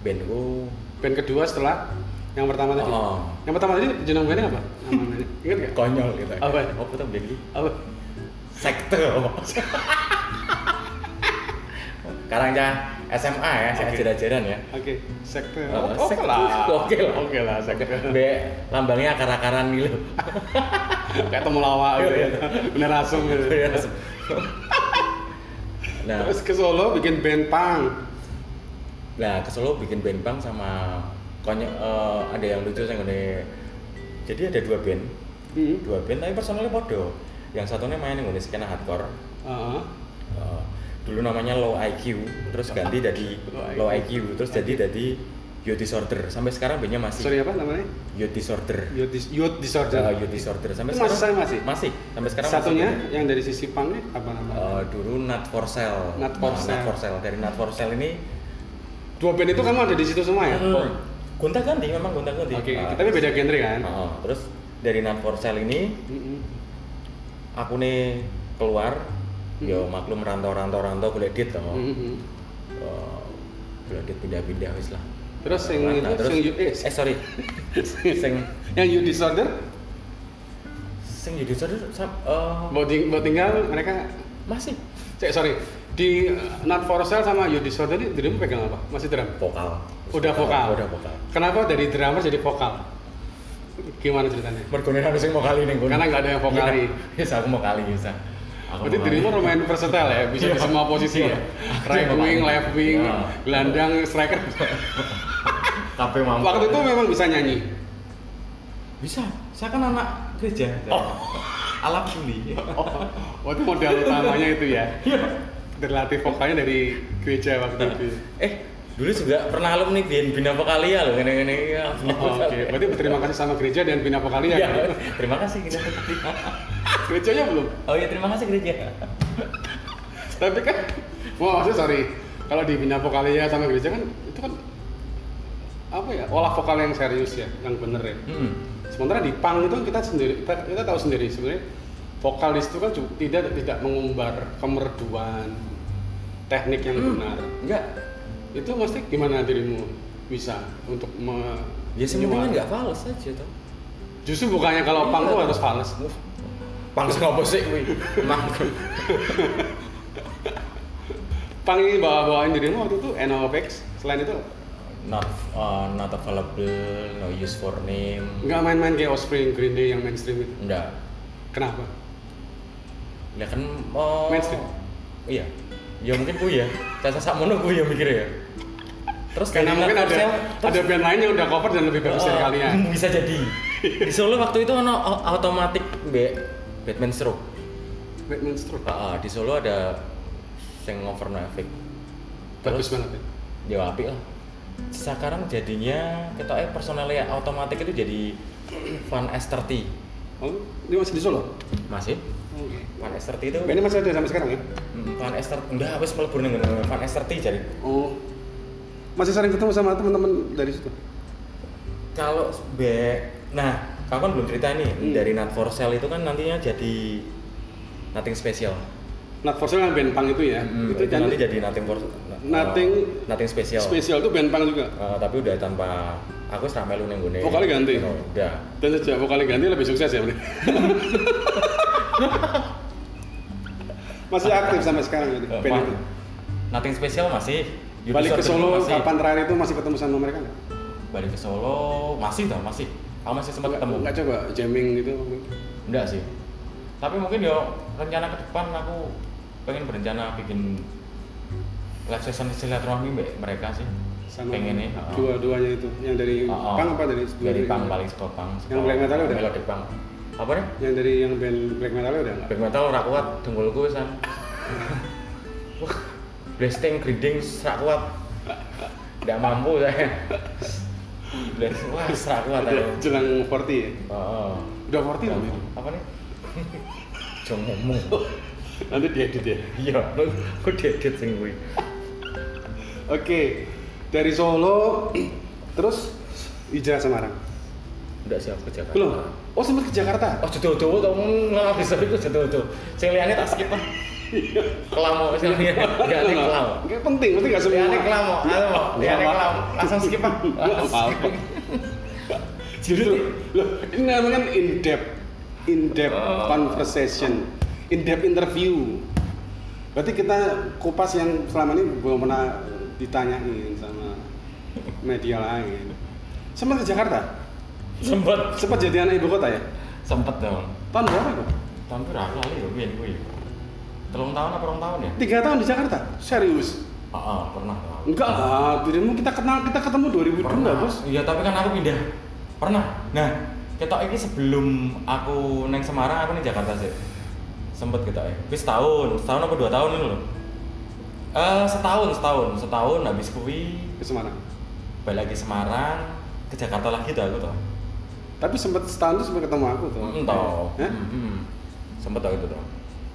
Speaker 2: bandku
Speaker 1: band kedua setelah yang pertama tadi
Speaker 2: Oh.
Speaker 1: yang pertama tadi jenang bandnya apa nama
Speaker 2: [LAUGHS]
Speaker 1: bandnya ingat nggak
Speaker 2: konyol gitu
Speaker 1: Apa?
Speaker 2: apa tuh band ini?
Speaker 1: apa
Speaker 2: sekte sekarang jangan SMA ya saya
Speaker 1: Oke.
Speaker 2: jaran-jaran ya
Speaker 1: oke sekte
Speaker 2: Oh,
Speaker 1: oke
Speaker 2: sekte.
Speaker 1: lah
Speaker 2: Oke lah.
Speaker 1: oke lah sekte
Speaker 2: be lambangnya akar-akaran gitu
Speaker 1: kayak temulawak gitu ya bener asem gitu
Speaker 2: Iya. nah
Speaker 1: terus ke Solo bikin band punk
Speaker 2: nah ke Solo bikin band bang sama konyol eh, ada yang lucu saya ngene jadi ada dua band
Speaker 1: hmm.
Speaker 2: dua band tapi personalnya podo yang satunya main yang skena hardcore
Speaker 1: Ah.
Speaker 2: Eh, dulu namanya low IQ terus ganti jadi low IQ terus jadi jadi Yo Disorder sampai sekarang bandnya masih
Speaker 1: sorry apa namanya
Speaker 2: Youth Disorder.
Speaker 1: youth, Dis- Youth
Speaker 2: Uh,
Speaker 1: disorder
Speaker 2: Youth Disorder. Sampai
Speaker 1: Itu masih
Speaker 2: sekarang
Speaker 1: sama sih?
Speaker 2: Masih. Sampai sekarang
Speaker 1: satunya
Speaker 2: masih.
Speaker 1: yang dari sisi punknya apa namanya
Speaker 2: Uh, dulu Not for Sale. Nah,
Speaker 1: Not for Sale.
Speaker 2: Not for Sale. Dari Not for Sale ini
Speaker 1: dua band itu kamu ada di situ semua ya
Speaker 2: oh, gonta-ganti memang gonta-ganti.
Speaker 1: Oke,
Speaker 2: Uh,
Speaker 1: tapi beda genre kan?
Speaker 2: uh, terus dari Not for Sale ini
Speaker 1: Mm-mm.
Speaker 2: aku nih keluar
Speaker 1: Hmm.
Speaker 2: yo maklum rantau-rantau-rantau boleh dit toh.
Speaker 1: Mm-mm.
Speaker 2: Uh, boleh dit pindah-pindah wis lah.
Speaker 1: Terus yang
Speaker 2: Nah,
Speaker 1: itu,
Speaker 2: terus,
Speaker 1: yang you, eh,
Speaker 2: eh
Speaker 1: [LAUGHS]
Speaker 2: sorry. sing
Speaker 1: yang you disorder,
Speaker 2: sing Youth Disorder sam- uh,
Speaker 1: mau, ting- mau tinggal mereka,
Speaker 2: masih
Speaker 1: cek sorry, di uh, Not For Sale sama you disorder ini dirimu pegang apa? Masih drum?
Speaker 2: vokal.
Speaker 1: Udah vokal?
Speaker 2: Udah vokal.
Speaker 1: Kenapa dari drummer jadi vokal? Gimana ceritanya?
Speaker 2: Mergone harus yang anu mau kali nih
Speaker 1: Karena nggak ada yang mau
Speaker 2: [LAUGHS]
Speaker 1: kali.
Speaker 2: Ya, yes, aku mau kali bisa. Aku
Speaker 1: Berarti
Speaker 2: mau kali.
Speaker 1: dirimu lumayan versatile ya, bisa di
Speaker 2: Iya.
Speaker 1: semua posisi ya?
Speaker 2: Iya.
Speaker 1: Right
Speaker 2: Iya.
Speaker 1: wing, left wing,
Speaker 2: Iya.
Speaker 1: gelandang, striker.
Speaker 2: Tapi mampu.
Speaker 1: Waktu itu memang bisa nyanyi?
Speaker 2: bisa. Saya kan anak gereja. [LAUGHS]
Speaker 1: Oh.
Speaker 2: Alat kuli.
Speaker 1: Oh, oh itu modal utamanya itu ya?
Speaker 2: Iya.
Speaker 1: Terlatih vokalnya dari gereja waktu itu ya?
Speaker 2: eh, dulu juga pernah alumni Bien Bina Vokalia loh ngene-ngene. Ya,
Speaker 1: Oh, Oke, berarti berterima kasih sama gereja dan Bina Pokalia.
Speaker 2: [LAUGHS] Iya.
Speaker 1: Ya.
Speaker 2: Terima kasih Bina Vokalia.
Speaker 1: [LAUGHS] Gerejanya belum.
Speaker 2: Oh iya, terima kasih gereja.
Speaker 1: Tapi kan, wah maksudnya sorry, kalau di Bina Pokalia sama gereja kan itu kan apa ya olah vokal yang serius ya, yang bener ya.
Speaker 2: Hmm.
Speaker 1: sementara di pang itu kan kita sendiri kita, kita tahu sendiri sebenarnya vokalis itu kan cu- tidak tidak mengumbar kemerduan teknik yang
Speaker 2: Hmm.
Speaker 1: benar
Speaker 2: Enggak.
Speaker 1: itu mesti gimana dirimu bisa untuk me
Speaker 2: Ya
Speaker 1: menyuarakan?
Speaker 2: semuanya enggak fals aja tuh.
Speaker 1: justru bukannya kalau pang tuh
Speaker 2: Iya.
Speaker 1: harus fals
Speaker 2: Pangs ngopo sih kuwi? Emang
Speaker 1: pang ini bawa bawain dirimu waktu itu NOFX selain itu
Speaker 2: not uh, not available, no use for name.
Speaker 1: nggak main-main kayak Offspring Green Day yang mainstream itu
Speaker 2: Enggak.
Speaker 1: kenapa
Speaker 2: Ya kan oh,
Speaker 1: Mainstream?
Speaker 2: Iya. Ya mungkin kuwi ya. Caca sakmono kuwi ya mikir ya. Terus
Speaker 1: karena mungkin
Speaker 2: dari Not
Speaker 1: ada
Speaker 2: Yourself, terus-
Speaker 1: ada band lain yang udah cover dan lebih bagus dari
Speaker 2: Oh,
Speaker 1: kalian
Speaker 2: [LAUGHS] Bisa jadi. Di Solo waktu itu ono otomatis Batman Stroke.
Speaker 1: Batman Stroke
Speaker 2: Ah, ah, di Solo ada yang over Nafik.
Speaker 1: bagus banget ya.
Speaker 2: Ya apik lah. Sekarang jadinya ketoknya personelnya otomatis itu jadi [CLEARS THROAT] Van S30.
Speaker 1: oh ini masih di Solo
Speaker 2: Masih?
Speaker 1: Oke.
Speaker 2: Van S30 itu
Speaker 1: ini masih ada sampai sekarang ya
Speaker 2: Mm, Van S30 enggak wis mlebu ning ngene, Van S30 jadi.
Speaker 1: oh masih sering ketemu sama teman-teman dari situ
Speaker 2: Kalau be nah, kamu kan belum cerita nih
Speaker 1: Hmm.
Speaker 2: dari Not for Sale itu kan nantinya jadi nothing special.
Speaker 1: Not For Sale yang band punk itu ya
Speaker 2: Mm,
Speaker 1: itu
Speaker 2: itu nanti
Speaker 1: jadi
Speaker 2: jadi nothing for
Speaker 1: Nothing-
Speaker 2: uh, nothing special.
Speaker 1: spesial itu band punk juga
Speaker 2: Uh, tapi udah tanpa aku sama melu ning nggone.
Speaker 1: Vokalnya ganti?
Speaker 2: Oh, Udah.
Speaker 1: dan sejak vokal ganti lebih sukses ya Bro? masih aktif sampai sekarang gitu,
Speaker 2: Uh,
Speaker 1: band
Speaker 2: Van-
Speaker 1: itu
Speaker 2: nothing special masih. You
Speaker 1: balik ke
Speaker 2: Deserve
Speaker 1: Solo
Speaker 2: It masih.
Speaker 1: kapan terakhir itu masih ketemu sama mereka nggak?
Speaker 2: Balik ke Solo masih tau masih. Aku masih sempat ketemu.
Speaker 1: nggak coba jamming gitu
Speaker 2: Enggak sih. Tapi mungkin ya rencana ke depan aku pengen berencana bikin live session silaturahmi mbek mereka sih.
Speaker 1: sama
Speaker 2: pengen nih.
Speaker 1: dua-duanya itu yang dari punk apa ah. dari
Speaker 2: dari pang paling suka pang.
Speaker 1: Yang black metal udah?
Speaker 2: Melodic pang. Apa nih?
Speaker 1: yang dari yang band black metal udah nggak
Speaker 2: Black metal ora kuat dengkulku wisan. Blasting grinding ora kuat. Enggak mampu saya. Blas wah ora kuat aku.
Speaker 1: jelang 40 ya
Speaker 2: Heeh.
Speaker 1: udah 40 belum itu?
Speaker 2: Apa [LAUGHS] nih? Jangan [LAUGHS] ngomong.
Speaker 1: nanti diedit ya
Speaker 2: Iya, lu kok diedit sing kuwi.
Speaker 1: oke dari Solo [CLEARS THROAT] terus hijrah Semarang
Speaker 2: Enggak siap ke Jakarta.
Speaker 1: belum oh sempat ke Jakarta
Speaker 2: Oh, jodoh-jodoh tau nggak bisa itu jodoh-jodoh. Sing liyane tak skip lah. Kelamo sing liyane enggak ning kelamo.
Speaker 1: Nggak penting penting nggak semua
Speaker 2: Liyane kelamo, anu, liyane
Speaker 1: Nggak
Speaker 2: kelamo. Langsung skip lah.
Speaker 1: Nggak apa-apa. Justru, loh, ini namanya kan in depth, in depth
Speaker 2: Oh.
Speaker 1: conversation, in depth interview. Berarti kita kupas yang selama ini belum pernah ditanyain sama media lain. Sempat ke Jakarta,
Speaker 2: Sempet,
Speaker 1: sempat jadi anak ibu kota ya.
Speaker 2: sempet dong.
Speaker 1: Tahun berapa itu?
Speaker 2: Tahun berapa lali ya kuwi kuwi? Telung tahun apa rong tahun ya?
Speaker 1: Tiga tahun di Jakarta, serius?
Speaker 2: Heeh, Ah, pernah. pernah.
Speaker 1: Enggak lah, dirimu kita kenal, kita ketemu 2002
Speaker 2: Pernah,
Speaker 1: enggak bos?
Speaker 2: Iya, tapi kan aku pindah. Pernah. Nah, ketok ini sebelum aku neng Semarang, aku neng Jakarta sih. Sempet ketok ya. Wis tahun, setahun apa dua tahun ini loh. Eh, setahun, setahun, setahun habis kuwi
Speaker 1: Ke Semarang.
Speaker 2: balik lagi Semarang, ke Jakarta lagi tuh aku tuh.
Speaker 1: Tapi sempat setahun tuh sempat ketemu aku tuh.
Speaker 2: Hmm, Entah.
Speaker 1: Oh, Hah?
Speaker 2: Mm-mm. Sempet tau itu tuh.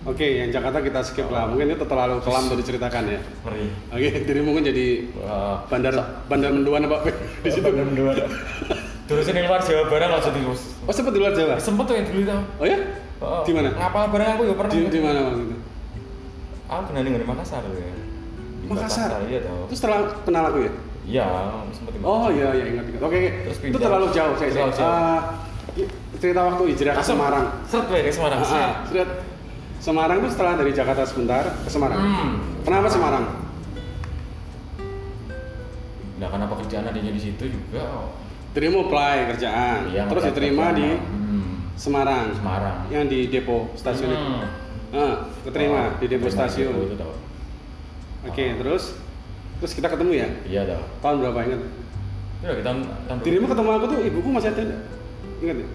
Speaker 1: Oke, yang Jakarta kita skip lah. Mungkin itu terlalu kelam untuk diceritakan ya.
Speaker 2: Ngeri.
Speaker 1: Oke, [LAUGHS] jadi mungkin jadi
Speaker 2: Eh,
Speaker 1: bandar bandar menduan apa [LAUGHS] di situ.
Speaker 2: Bener-bener. Terus ini luar Jawa Barat langsung terus.
Speaker 1: Oh, sempat di luar Jawa.
Speaker 2: Sempet tuh yang dulu tuh.
Speaker 1: Oh ya? Di mana?
Speaker 2: Ngapal bareng aku ya pernah.
Speaker 1: Di, di mana Gitu. waktu itu?
Speaker 2: Aku kenal dengan Makassar tuh ya. Di
Speaker 1: Makassar.
Speaker 2: Iya tau.
Speaker 1: Terus setelah kenal aku ya?
Speaker 2: Iya, sempat di
Speaker 1: Oh
Speaker 2: Makassar.
Speaker 1: iya iya ingat ingat. Oke, oke.
Speaker 2: Terus
Speaker 1: itu
Speaker 2: pindah.
Speaker 1: terlalu jauh saya.
Speaker 2: Terlalu
Speaker 1: saya-
Speaker 2: jauh.
Speaker 1: Ah, i- cerita waktu hijrah ke
Speaker 2: Langsung
Speaker 1: Semarang.
Speaker 2: Seret gue ke Semarang.
Speaker 1: Ah, ah,
Speaker 2: Seret.
Speaker 1: Lihat Semarang itu setelah dari Jakarta sebentar ke Semarang.
Speaker 2: Hmm.
Speaker 1: Kenapa Semarang?
Speaker 2: Nah, karena pekerjaan adanya di situ juga. oh.
Speaker 1: Dirimu apply kerjaan,
Speaker 2: Iya,
Speaker 1: terus
Speaker 2: maka
Speaker 1: diterima di
Speaker 2: kerjaan. Hmm,
Speaker 1: Semarang.
Speaker 2: Semarang.
Speaker 1: Yang di depo stasiun itu.
Speaker 2: Hmm.
Speaker 1: Ah, keterima
Speaker 2: Oh,
Speaker 1: di depo
Speaker 2: keterima
Speaker 1: stasiun.
Speaker 2: Depo itu tau.
Speaker 1: Oke, terus terus kita ketemu ya.
Speaker 2: Iya tau.
Speaker 1: Tahun berapa ingat?
Speaker 2: Itu udah kita tahun
Speaker 1: Dirimu ketemu aku tuh ibuku masih ada enggak? Ingat ya?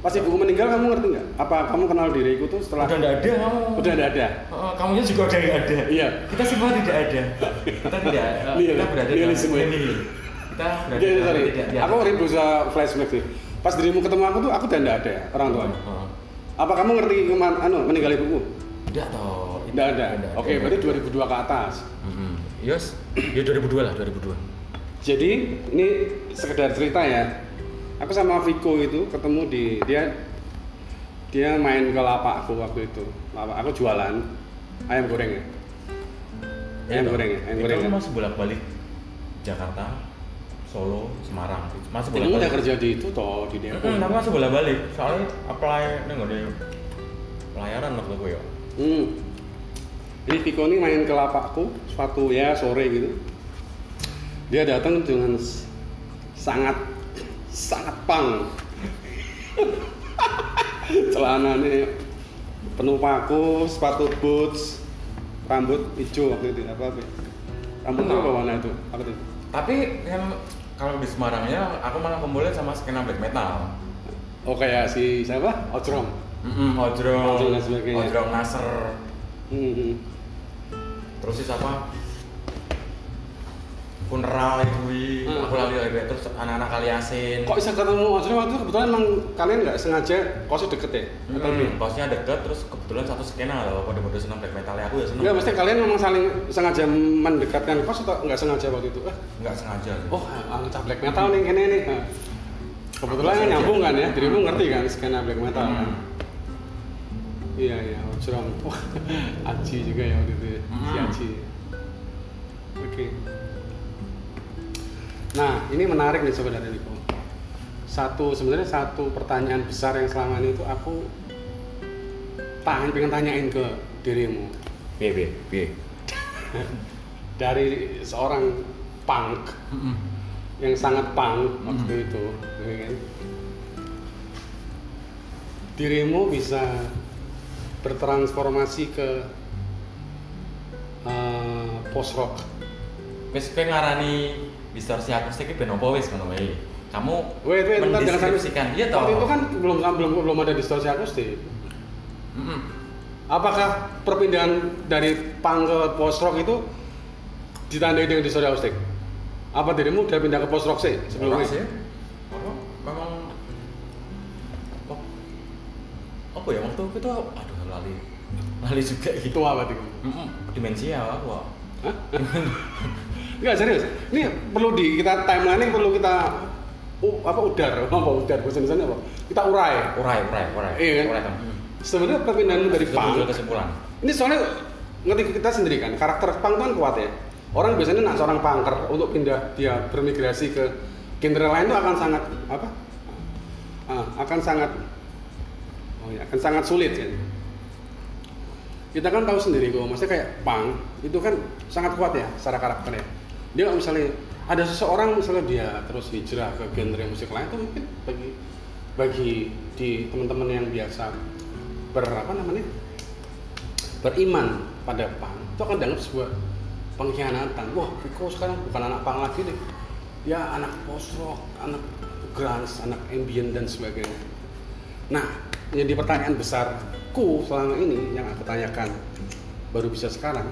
Speaker 1: Pas ibuku meninggal kamu ngerti nggak? Apa kamu kenal diriku tuh setelah
Speaker 2: Udah nggak ada kamu.
Speaker 1: udah nggak ada?
Speaker 2: Oh, kamunya juga udah nggak ada.
Speaker 1: Iya.
Speaker 2: Kita semua tidak ada. Kita tidak. eh,
Speaker 1: Nihil.
Speaker 2: kita berada dalam
Speaker 1: Nihilisme.
Speaker 2: nihil. Kita berada
Speaker 1: Jadi,
Speaker 2: dalam
Speaker 1: sorry.
Speaker 2: tidak di
Speaker 1: Aku
Speaker 2: atas.
Speaker 1: rindu bisa flashback sih. Pas dirimu ketemu aku tuh aku udah nggak ada orang tua.
Speaker 2: Heeh.
Speaker 1: Apa kamu ngerti kemana anu meninggal ibuku?
Speaker 2: Enggak toh.
Speaker 1: Nggak ada. Oke, berarti 2002 ke atas.
Speaker 2: Mm-hmm. Yos, ya 2002 lah, 2002.
Speaker 1: Jadi ini sekedar cerita ya. aku sama Viko itu ketemu di dia dia main ke lapak aku waktu itu lapak aku jualan ayam goreng ya ayam
Speaker 2: Itu-
Speaker 1: goreng ya ayam goreng
Speaker 2: Iya Itu
Speaker 1: ya.
Speaker 2: masih bolak-balik Jakarta, Solo, Semarang. Masih
Speaker 1: Kamu kan udah
Speaker 2: bolak-balik.
Speaker 1: kerja ya? di itu toh di Depok
Speaker 2: Mm-mm, tapi masih bolak-balik. Soalnya apply nih nggak ada ya? pelayanan waktu gue ya.
Speaker 1: hmm. jadi Viko ini main ke lapakku suatu ya sore gitu dia datang dengan s- sangat sangat pang [LAUGHS] celananya penuh paku sepatu boots rambut hijau waktu itu apa apa rambutnya apa warna itu apa itu
Speaker 2: Tapi yang kalau di Semarangnya aku malah kumpulin sama skena black metal.
Speaker 1: oh kayak si siapa Ojrom
Speaker 2: Mm-mm, Ojrong,
Speaker 1: Ojrong dan sebagainya.
Speaker 2: Ojrong Nasr,
Speaker 1: hmm. hmm.
Speaker 2: terus sih apa? Funeral itu,
Speaker 1: Hmm.
Speaker 2: aku lali lagi terus anak-anak kaliasin.
Speaker 1: kok bisa ketemu Ojrom waktu itu kebetulan emang kalian nggak sengaja kosnya deket ya
Speaker 2: Mm, kosnya deket, terus kebetulan satu skena loh, aku udah seneng black metalnya aku ya seneng.
Speaker 1: Enggak, mesti kalian memang saling sengaja mendekatkan kos atau nggak sengaja waktu itu? Eh,
Speaker 2: Nggak sengaja. gitu.
Speaker 1: oh, angkat black metal nih, kene nih. Nah, Kebetulan kan nyambung kan ya, dirimu ngerti kan skena black metal kan? Iya, iya, Ojrom. Wah, [LAUGHS] Aji juga ya waktu itu ya, si
Speaker 2: Hmm.
Speaker 1: Aji. Oke. Nah, ini menarik nih sebenarnya Niko. Satu, sebenarnya satu pertanyaan besar yang selama ini itu aku tahan, pengen tanyain ke dirimu.
Speaker 2: Piye piye piye.
Speaker 1: dari seorang punk yang sangat punk waktu
Speaker 2: Hmm.
Speaker 1: itu ya kan? dirimu bisa bertransformasi ke eh, post rock
Speaker 2: Wis kowe ngarani distorsi akustik iki ben apa wis ngono wae. Kamu
Speaker 1: Wait, wait, bentar, jangan sampai-
Speaker 2: mendeskripsikan iya toh.
Speaker 1: waktu itu kan belum belum belum ada distorsi akustik
Speaker 2: Mm-mm.
Speaker 1: apakah perpindahan dari punk ke post rock itu ditandai dengan distorsi akustik apa dirimu udah pindah ke post rock sih sebelumnya
Speaker 2: Orang sih. Apa? Memang Wak- apa ya waktu itu aduh lali lali juga gitu
Speaker 1: itu apa dirimu
Speaker 2: Mm-mm. dimensia aku Wak.
Speaker 1: Enggak serius. Ini perlu di kita timeline ini perlu kita u- apa udar [LAUGHS] apa udar bahasa Indonesia apa? Kita urai.
Speaker 2: urai urai urai
Speaker 1: Iya kan?
Speaker 2: urai kamu
Speaker 1: Sebenarnya perpindahan dari
Speaker 2: Kesimpulan-
Speaker 1: punk
Speaker 2: kesimpulan
Speaker 1: ini soalnya ngerti kita sendiri kan karakter punk itu kan kuat ya. Orang biasanya nak seorang punker untuk pindah dia bermigrasi ke genre lain itu akan sangat apa? Ah, akan sangat oh ya, akan sangat sulit kan. Kita kan tahu sendiri kok, maksudnya kayak punk itu kan sangat kuat ya secara karakternya. Dia nggak misalnya ada seseorang misalnya dia terus hijrah ke genre musik lain itu mungkin bagi bagi di teman-teman yang biasa ber apa namanya beriman pada pang itu akan dianggap sebuah pengkhianatan wah Piko sekarang bukan anak pang lagi deh dia anak post rock anak grunge anak ambient dan sebagainya nah jadi pertanyaan besarku selama ini yang aku tanyakan baru bisa sekarang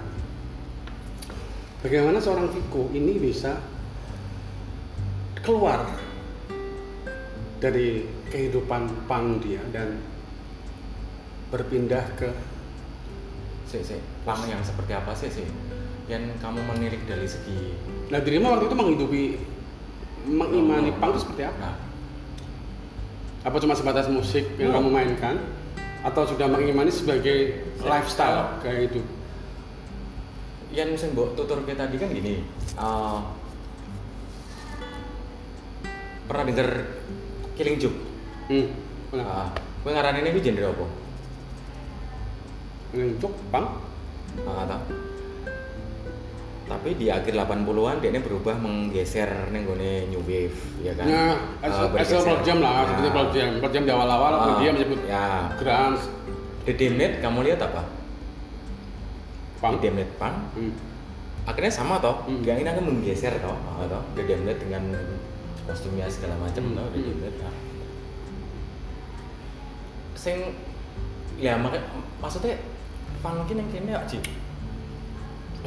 Speaker 1: bagaimana seorang Viko ini bisa keluar dari kehidupan pang dia dan berpindah ke
Speaker 2: sih sih pang yang seperti apa sih sih yang kamu menirik dari segi
Speaker 1: Nah dirimu waktu itu menghidupi mengimani punk itu seperti apa?
Speaker 2: nah
Speaker 1: Apa cuma sebatas musik yang
Speaker 2: Enggak.
Speaker 1: kamu mainkan? Atau sudah mengimani sebagai lifestyle kayak gitu? itu?
Speaker 2: yang sing mbok tuturke tadi kan gini eh, pernah denger Killing Joke
Speaker 1: Hmm. Nah,
Speaker 2: Heeh. Kowe ngarani ini genre apa?
Speaker 1: untuk punk?
Speaker 2: Heeh Ah, ta. Tapi di akhir 80-an dia ini berubah menggeser nih new wave ya kan.
Speaker 1: Ya,
Speaker 2: Eh,
Speaker 1: asal
Speaker 2: bergeser.
Speaker 1: Pearl Jam lah,
Speaker 2: Ya.
Speaker 1: seperti Pearl Jam. Pearl Jam di awal-awal waktu
Speaker 2: Ah,
Speaker 1: dia menyebut
Speaker 2: ya.
Speaker 1: grunge,
Speaker 2: The Damned kamu lihat apa?
Speaker 1: punk.
Speaker 2: The Damned Punk.
Speaker 1: Hmm.
Speaker 2: Akhirnya sama toh.
Speaker 1: Hmm.
Speaker 2: Dia ini akan menggeser toh. Ah, toh. The Damned dengan kostumnya segala macam
Speaker 1: Hmm.
Speaker 2: toh The
Speaker 1: Hmm.
Speaker 2: Damned. Nah. Sing ya maka, maksudnya punk ini yang kayaknya Ci.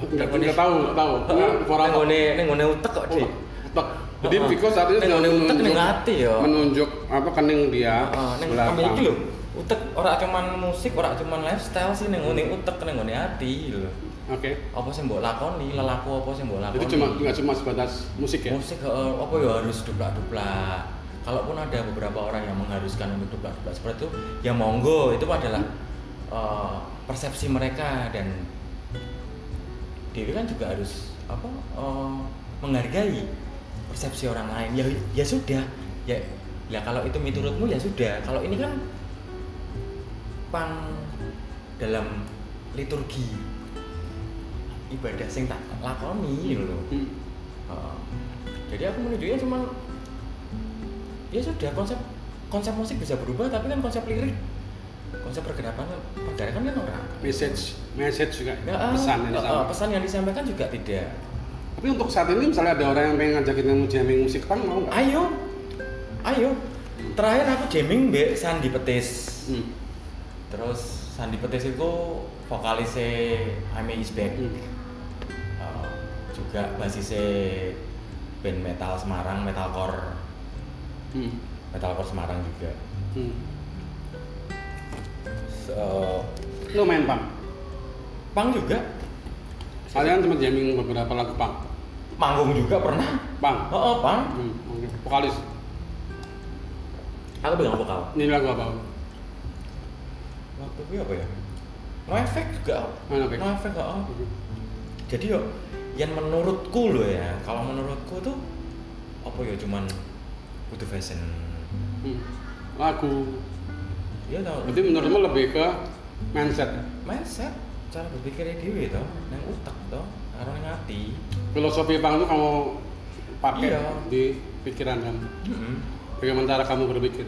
Speaker 1: Enggak, enggak tahu, enggak tahu. Ini for apa?
Speaker 2: Nenggone nenggone utek kok, Dik.
Speaker 1: Tek. Jadi
Speaker 2: Heeh. Eh,
Speaker 1: Viko saat itu
Speaker 2: Neng
Speaker 1: sedang
Speaker 2: ada utek,
Speaker 1: menunjuk,
Speaker 2: neng ati ya.
Speaker 1: menunjuk apa kening dia
Speaker 2: Heeh, ning
Speaker 1: sebelah
Speaker 2: kami iki
Speaker 1: punk.
Speaker 2: lho. Utek ora cuman musik, ora cuman lifestyle sih ning ngene utek ning ngene ati lho.
Speaker 1: Oke.
Speaker 2: Apa sing mbok lakoni, lelaku apa sing mbok lakoni. eh,
Speaker 1: Jadi cuma nggak cuma sebatas musik ya?
Speaker 2: musik heeh, apa ya harus duplak-duplak. kalaupun ada beberapa orang yang mengharuskan untuk berbuat seperti itu ya monggo itu adalah eh, persepsi mereka dan Dewi kan juga harus apa eh, menghargai persepsi orang lain ya ya sudah ya ya kalau itu menurutmu ya sudah kalau ini kan pan dalam liturgi ibadah sing tak lakoni gitu loh
Speaker 1: Hmm.
Speaker 2: Heeh. Ah. jadi aku menunjuknya cuman ya sudah konsep konsep musik bisa berubah tapi kan konsep lirik konsep pergerakan pergerakan kan orang
Speaker 1: message message juga
Speaker 2: Ya, ah,
Speaker 1: pesan yang
Speaker 2: eh, eh,
Speaker 1: disampaikan.
Speaker 2: pesan yang disampaikan juga tidak
Speaker 1: Tapi untuk saat ini misalnya ada orang yang pengen ngajakin kamu jamming musik punk mau nggak?
Speaker 2: ayo ayo terakhir aku jamming mbek Sandi Petis
Speaker 1: Hmm.
Speaker 2: terus Sandi Petis itu vokalisnya Ame Is Back
Speaker 1: Hmm.
Speaker 2: Eh, juga basisnya band metal Semarang metalcore
Speaker 1: Hmm.
Speaker 2: metalcore Semarang juga
Speaker 1: Hmm.
Speaker 2: So,
Speaker 1: Lo main punk?
Speaker 2: pang juga
Speaker 1: Kalian cuma jamming beberapa lagu punk?
Speaker 2: manggung juga pernah
Speaker 1: Punk?
Speaker 2: oh, oh pang
Speaker 1: Hmm. oke. Vokalis?
Speaker 2: aku pegang vokal
Speaker 1: Ini lagu apa?
Speaker 2: waktu itu apa ya no effect juga
Speaker 1: No Effect.
Speaker 2: no effect nggak, oh. jadi yo yang menurutku loh ya kalau menurutku tuh apa ya cuman butuh fashion
Speaker 1: Hmm. Lagu.
Speaker 2: ya tau
Speaker 1: Berarti menurutmu lebih ke mindset,
Speaker 2: mindset cara berpikirnya dewi toh nang utak toh orang ngati
Speaker 1: filosofi punk itu kamu pakai
Speaker 2: Iya.
Speaker 1: di pikiran kamu.
Speaker 2: Mm-mm.
Speaker 1: Bagaimana cara kamu berpikir?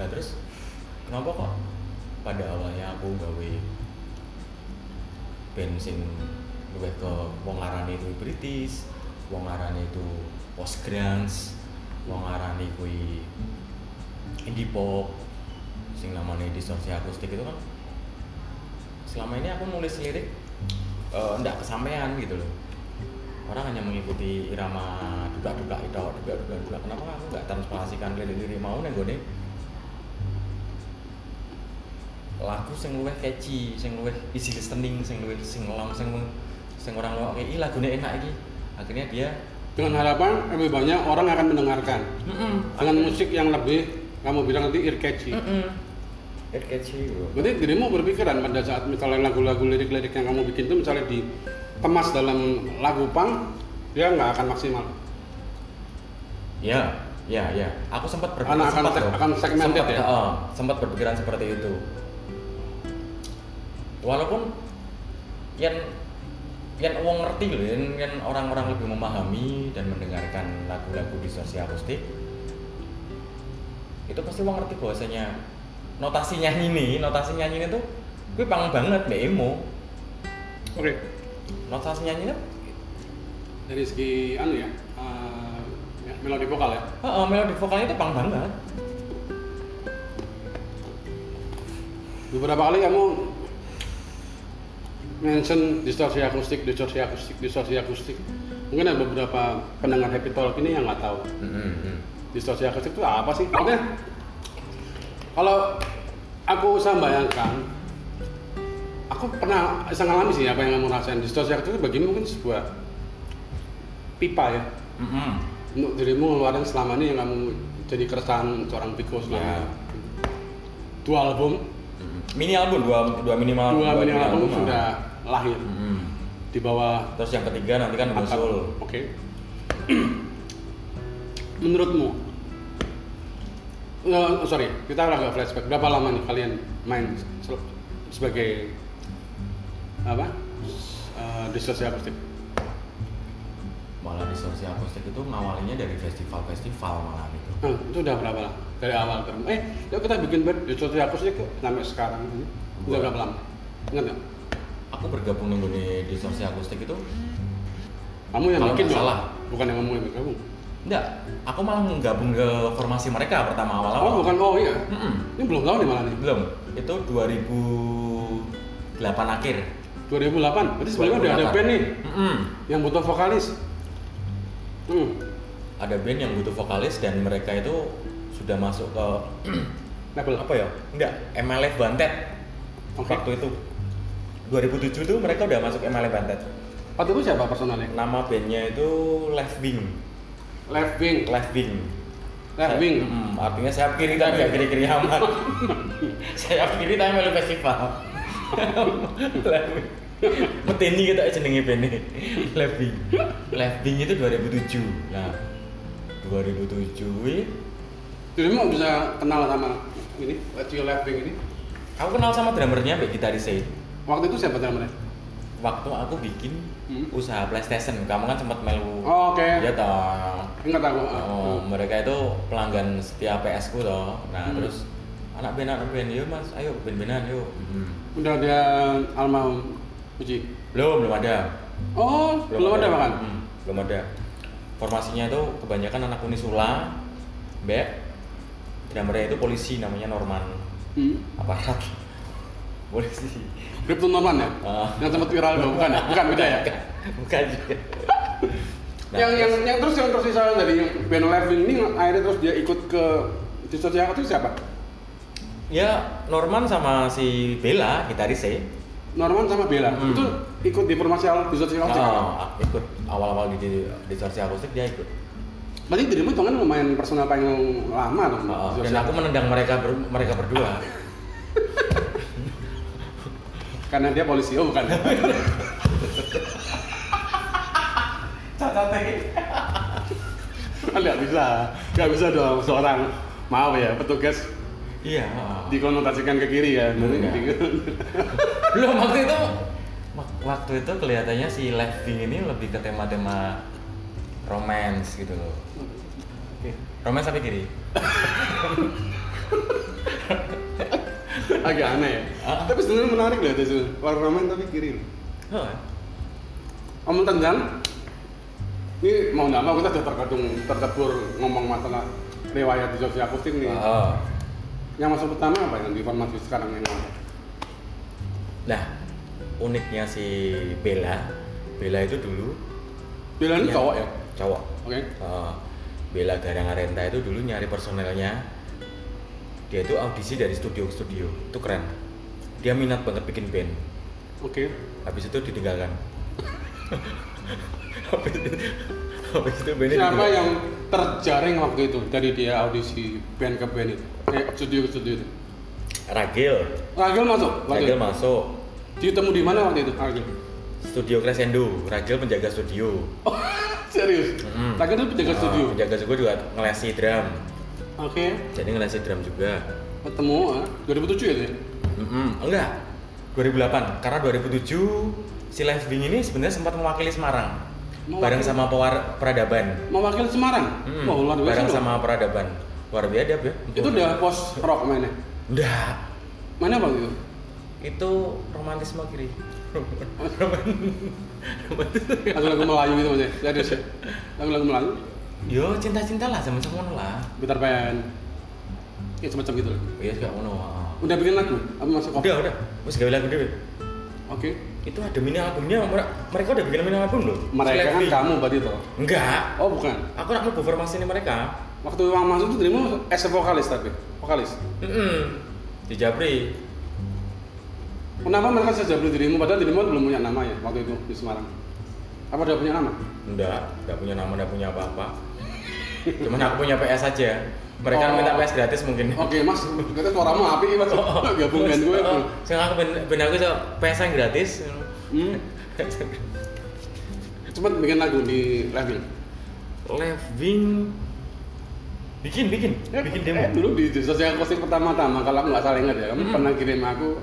Speaker 2: Nah terus kenapa kok pada awalnya aku gawe bensin lebih ke wong arane itu British, wong arane itu post grunge, wong arane kuwi indie pop, sing namanya distorsi akustik itu kan selama ini aku nulis lirik eh, ndak kesampaian gitu loh orang hanya mengikuti irama duka-duka itu duka-duka duka kenapa aku nggak transplasikan lirik-lirik mau nih gue lagu sing luwih catchy, sing luwih easy listening, sing luwih sing long, sing sing orang lo kayak "Ih, lagune enak iki. Akhirnya dia
Speaker 1: Dengan harapan lebih banyak orang akan mendengarkan
Speaker 2: heeh,
Speaker 1: dengan musik yang lebih kamu bilang nanti ear catchy.
Speaker 2: heeh. It catchy bro.
Speaker 1: Berarti dirimu berpikiran pada saat misalnya lagu-lagu lirik-lirik yang kamu bikin itu misalnya dikemas dalam lagu punk, dia nggak akan maksimal.
Speaker 2: Ya, ya, ya. Aku sempat berpikiran
Speaker 1: Anak akan
Speaker 2: sempat
Speaker 1: seg-
Speaker 2: loh.
Speaker 1: akan segmented
Speaker 2: sempat,
Speaker 1: ya?
Speaker 2: heeh, sempat berpikiran seperti itu. Walaupun yang yang uang ngerti loh, yang, yang orang-orang lebih memahami dan mendengarkan lagu-lagu distorsi akustik itu pasti uang ngerti bahwasanya notasi nyanyi nih, notasi nyanyi ini tuh gue pang banget mbak emo
Speaker 1: Oke.
Speaker 2: notasi nyanyi tuh
Speaker 1: Dari segi anu ya, eh, ya, melodi vokal ya.
Speaker 2: heeh, melodi vokalnya tuh pang banget
Speaker 1: Beberapa kali kamu mention distorsi akustik, distorsi akustik, distorsi akustik. Mungkin ada beberapa pendengar Happy Talk ini yang nggak tahu. distorsi akustik itu apa sih? Maksudnya kalau aku usah bayangkan, aku pernah bisa ngalami sih apa yang kamu rasain. Distorsi akustik itu bagi mungkin sebuah pipa ya
Speaker 2: Mm-mm.
Speaker 1: untuk dirimu ngeluarin selama ini yang kamu jadi keresahan seorang Piko selama
Speaker 2: Ya.
Speaker 1: ini. dua album,
Speaker 2: Mm-hmm. mini album dua dua minimal
Speaker 1: dua mini album
Speaker 2: ah.
Speaker 1: sudah lahir
Speaker 2: Mm.
Speaker 1: di bawah
Speaker 2: terus yang ketiga nanti kan
Speaker 1: atap.
Speaker 2: muncul
Speaker 1: Oke. [CLEARS THROAT] Menurutmu? Eh, sorry, kita agak flashback. Berapa lama nih kalian main se- sebagai apa? Eh, distorsi akustik.
Speaker 2: malah distorsi akustik itu ngawalinya dari festival-festival malah gitu
Speaker 1: Nah, itu udah berapa lama? Dari awal ke Eh, yuk kita bikin band distorsi akustik kok sampai sekarang ini. Udah
Speaker 2: Dua.
Speaker 1: berapa lama? Ingat nggak?
Speaker 2: aku bergabung dengan dunia distorsi akustik itu
Speaker 1: Kamu yang
Speaker 2: Kalau
Speaker 1: bikin
Speaker 2: nggak
Speaker 1: dong.
Speaker 2: salah.
Speaker 1: Bukan yang kamu yang bergabung.
Speaker 2: enggak aku malah gabung ke formasi mereka pertama awal awal
Speaker 1: Oh, bukan. Oh iya.
Speaker 2: Mm-mm.
Speaker 1: Ini belum tahu nih malah nih.
Speaker 2: belum itu 2008 akhir
Speaker 1: 2008. Berarti sebelumnya udah ada
Speaker 2: 2008.
Speaker 1: band nih
Speaker 2: Mm-mm.
Speaker 1: yang butuh vokalis. Hmm.
Speaker 2: ada band yang butuh vokalis dan mereka itu sudah masuk ke
Speaker 1: Label
Speaker 2: apa ya enggak MLF Bantet
Speaker 1: Oke.
Speaker 2: waktu itu 2007 tuh mereka udah masuk MLE Bantet
Speaker 1: Waktu itu siapa personalnya?
Speaker 2: nama bandnya itu Left Wing
Speaker 1: left wing
Speaker 2: left wing
Speaker 1: left
Speaker 2: Saya-
Speaker 1: wing
Speaker 2: Mm, artinya sayap kiri tapi nggak kiri
Speaker 1: [LAUGHS]
Speaker 2: kiri amat sayap kiri tapi melu festival [LAUGHS] left wing petini kita jenenge bene left wing left wing itu 2007 nah 2007 ini,
Speaker 1: jadi mau bisa kenal sama ini Tio left wing ini
Speaker 2: aku kenal sama drummernya Mbak Gitaris itu
Speaker 1: waktu itu siapa namanya
Speaker 2: waktu aku bikin
Speaker 1: Hmm.
Speaker 2: usaha PlayStation kamu kan sempat melu
Speaker 1: oh, oke
Speaker 2: ya toh
Speaker 1: ingat aku
Speaker 2: Oh, mereka itu pelanggan setia PS ku toh. Nah,
Speaker 1: Hmm.
Speaker 2: terus anak band anak band yuk mas, ayo band benan yuk.
Speaker 1: udah ada almarhum Puji
Speaker 2: Belum belum ada.
Speaker 1: oh belum, ada bahkan
Speaker 2: Hmm, belum ada. Formasinya itu kebanyakan anak Unisula, Mbak. Drummernya itu polisi namanya Norman.
Speaker 1: hmm.
Speaker 2: Aparat. [LAUGHS] Polisi.
Speaker 1: Krypton Norman ya
Speaker 2: Ah.
Speaker 1: yang tempat viral itu bukan ya bukan beda ya
Speaker 2: Bukan juga. Nah,
Speaker 1: yang yang
Speaker 2: terus
Speaker 1: yang terus yang tersisa dari band left wing ini akhirnya terus dia ikut ke Distro Jaya itu siapa
Speaker 2: ya Norman sama si Bella gitarisnya
Speaker 1: Norman sama Bella
Speaker 2: Hmm.
Speaker 1: itu ikut di formasi al Distro Jaya
Speaker 2: Nah, ikut awal-awal di, di, di Sorsi akustik dia ikut.
Speaker 1: berarti dirimu itu kan lumayan personal paling lama dong
Speaker 2: Oh,
Speaker 1: Distro
Speaker 2: dan
Speaker 1: Jaya.
Speaker 2: aku menendang mereka ber- mereka berdua.
Speaker 1: karena dia polisi oh
Speaker 2: [LAUGHS]
Speaker 1: bukan
Speaker 2: Cacatnya.
Speaker 1: Kan nggak bisa nggak bisa dong seorang maaf ya petugas
Speaker 2: Iya.
Speaker 1: dikonotasikan ke kiri ya
Speaker 2: Enggak. Belum waktu itu wak- waktu itu kelihatannya si Lefting ini lebih ke tema-tema romance gitu loh. Romance tapi kiri.
Speaker 1: [LAUGHS] agak aneh ya
Speaker 2: Ah.
Speaker 1: tapi sebenarnya menarik loh itu warna roman tapi kiri loh.
Speaker 2: Oh,
Speaker 1: eh. Om tendang ini mau nggak mau kita sudah terkadung tertebur ngomong masalah riwayat di Jogja Akustik nih
Speaker 2: Oh.
Speaker 1: yang masuk pertama apa yang di formasi sekarang ini
Speaker 2: Nah, uniknya si Bella, Bella itu dulu
Speaker 1: Bila ini
Speaker 2: Iya.
Speaker 1: cowok ya
Speaker 2: cowok.
Speaker 1: oke
Speaker 2: Eh, Bella Garang Arenta itu dulu nyari personelnya dia itu audisi dari studio ke studio itu keren dia minat banget bikin band
Speaker 1: oke
Speaker 2: habis itu ditinggalkan [LAUGHS] habis itu habis itu
Speaker 1: siapa ya?
Speaker 2: bandnya ditinggal-
Speaker 1: yang terjaring waktu itu dari dia audisi band ke band itu eh studio ke studio itu
Speaker 2: Ragil
Speaker 1: Ragil masuk waktu
Speaker 2: Ragil
Speaker 1: itu.
Speaker 2: masuk
Speaker 1: ditemu di mana waktu itu Ragil
Speaker 2: studio Crescendo Ragil penjaga studio
Speaker 1: Oh, [LAUGHS] serius
Speaker 2: Mm-mm.
Speaker 1: Ragil itu penjaga
Speaker 2: Eh,
Speaker 1: studio oke
Speaker 2: penjaga studio juga ngelesi drum jadi ngelesi drum juga
Speaker 1: ketemu ah, 2007 ya dia?
Speaker 2: Mm-mm, Oh, enggak 2008 karena 2007 si Live Bing ini sebenarnya sempat mewakili Semarang
Speaker 1: Mewakili.
Speaker 2: bareng sama pewar- peradaban
Speaker 1: mewakili Semarang
Speaker 2: Mm-mm,
Speaker 1: wah luar biasa
Speaker 2: bareng
Speaker 1: loh.
Speaker 2: sama peradaban luar biasa dia ya
Speaker 1: itu udah post rock mainnya
Speaker 2: Nggak.
Speaker 1: mana waktu itu
Speaker 2: itu romantisme
Speaker 1: [LAUGHS]
Speaker 2: kiri
Speaker 1: lagu-lagu Melayu gitu maksudnya serius ya lagu-lagu Melayu
Speaker 2: yo cinta-cinta lah sama sama lah
Speaker 1: gitar band ya semacam gitu lah
Speaker 2: iya suka ngono ah.
Speaker 1: udah bikin lagu apa masuk
Speaker 2: udah udah wis gawe lagu dhewe
Speaker 1: oke
Speaker 2: itu ada mini albumnya mer- mereka udah bikin mini album loh
Speaker 1: mereka kan kamu berarti toh
Speaker 2: enggak
Speaker 1: oh bukan
Speaker 2: aku nak mau formasi ini mereka
Speaker 1: waktu uang masuk tuh dirimu as a vokalis tapi vokalis
Speaker 2: Mm-mm. di Japri
Speaker 1: kenapa mereka saja beli dirimu padahal dirimu belum punya nama ya waktu itu di Semarang apa udah punya nama
Speaker 2: Enggak, enggak punya nama, enggak punya apa-apa.
Speaker 1: [LAUGHS]
Speaker 2: Cuman aku punya PS aja. Mereka
Speaker 1: Oh.
Speaker 2: minta PS gratis mungkin.
Speaker 1: oke mas kata suaramu api
Speaker 2: [LAUGHS]
Speaker 1: mas [LAUGHS] gabung band Oh, gue
Speaker 2: Oh, Sekarang aku ben, ben aku so, PS yang
Speaker 1: [LAUGHS]
Speaker 2: gratis.
Speaker 1: hmm. cepet bikin lagu di level
Speaker 2: Left wing bikin bikin bikin demo.
Speaker 1: Eh,
Speaker 2: Hmm.
Speaker 1: dulu di sosial kosting pertama-tama kalau aku nggak salah ingat ya, kamu
Speaker 2: Mm-mm.
Speaker 1: pernah kirim aku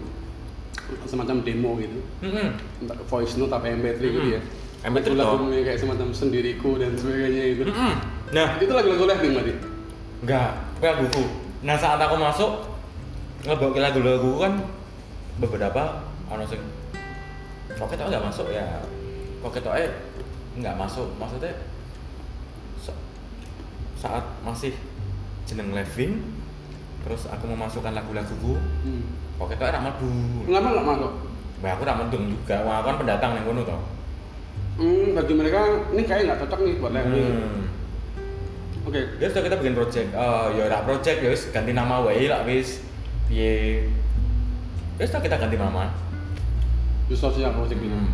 Speaker 1: semacam demo gitu,
Speaker 2: Mm-mm.
Speaker 1: entah voice note apa MP3 gitu
Speaker 2: Hmm.
Speaker 1: ya.
Speaker 2: Mm-mm. MP3 toh.
Speaker 1: Lagu-lagunya kayak semacam sendiriku dan sebagainya itu.
Speaker 2: Mm-mm. Nah,
Speaker 1: Itu lagu-lagu lefting berarti.
Speaker 2: Hmm. enggak, kayak buku. Nah, saat aku masuk ngebawa lagu-lagu kan beberapa ono sing kok ketok enggak masuk ya. Kok ketok eh enggak masuk. Maksudnya sa- saat masih jeneng Levin terus aku memasukkan lagu-laguku
Speaker 1: Hmm.
Speaker 2: kok ketok ora mlebu.
Speaker 1: Kenapa nggak masuk?
Speaker 2: Wah, aku ora mendung juga. Wah, aku kan pendatang ning kono to.
Speaker 1: Hmm, bagi mereka ini kayak nggak cocok nih buat lefting.
Speaker 2: Hmm.
Speaker 1: Oke.
Speaker 2: Ya sudah kita bikin project. Eh ya ora project ya wis ganti nama wae lah wis. Piye. Ya sudah kita ganti nama.
Speaker 1: Di sosial kosting
Speaker 2: Hmm.
Speaker 1: gitu.
Speaker 2: eh,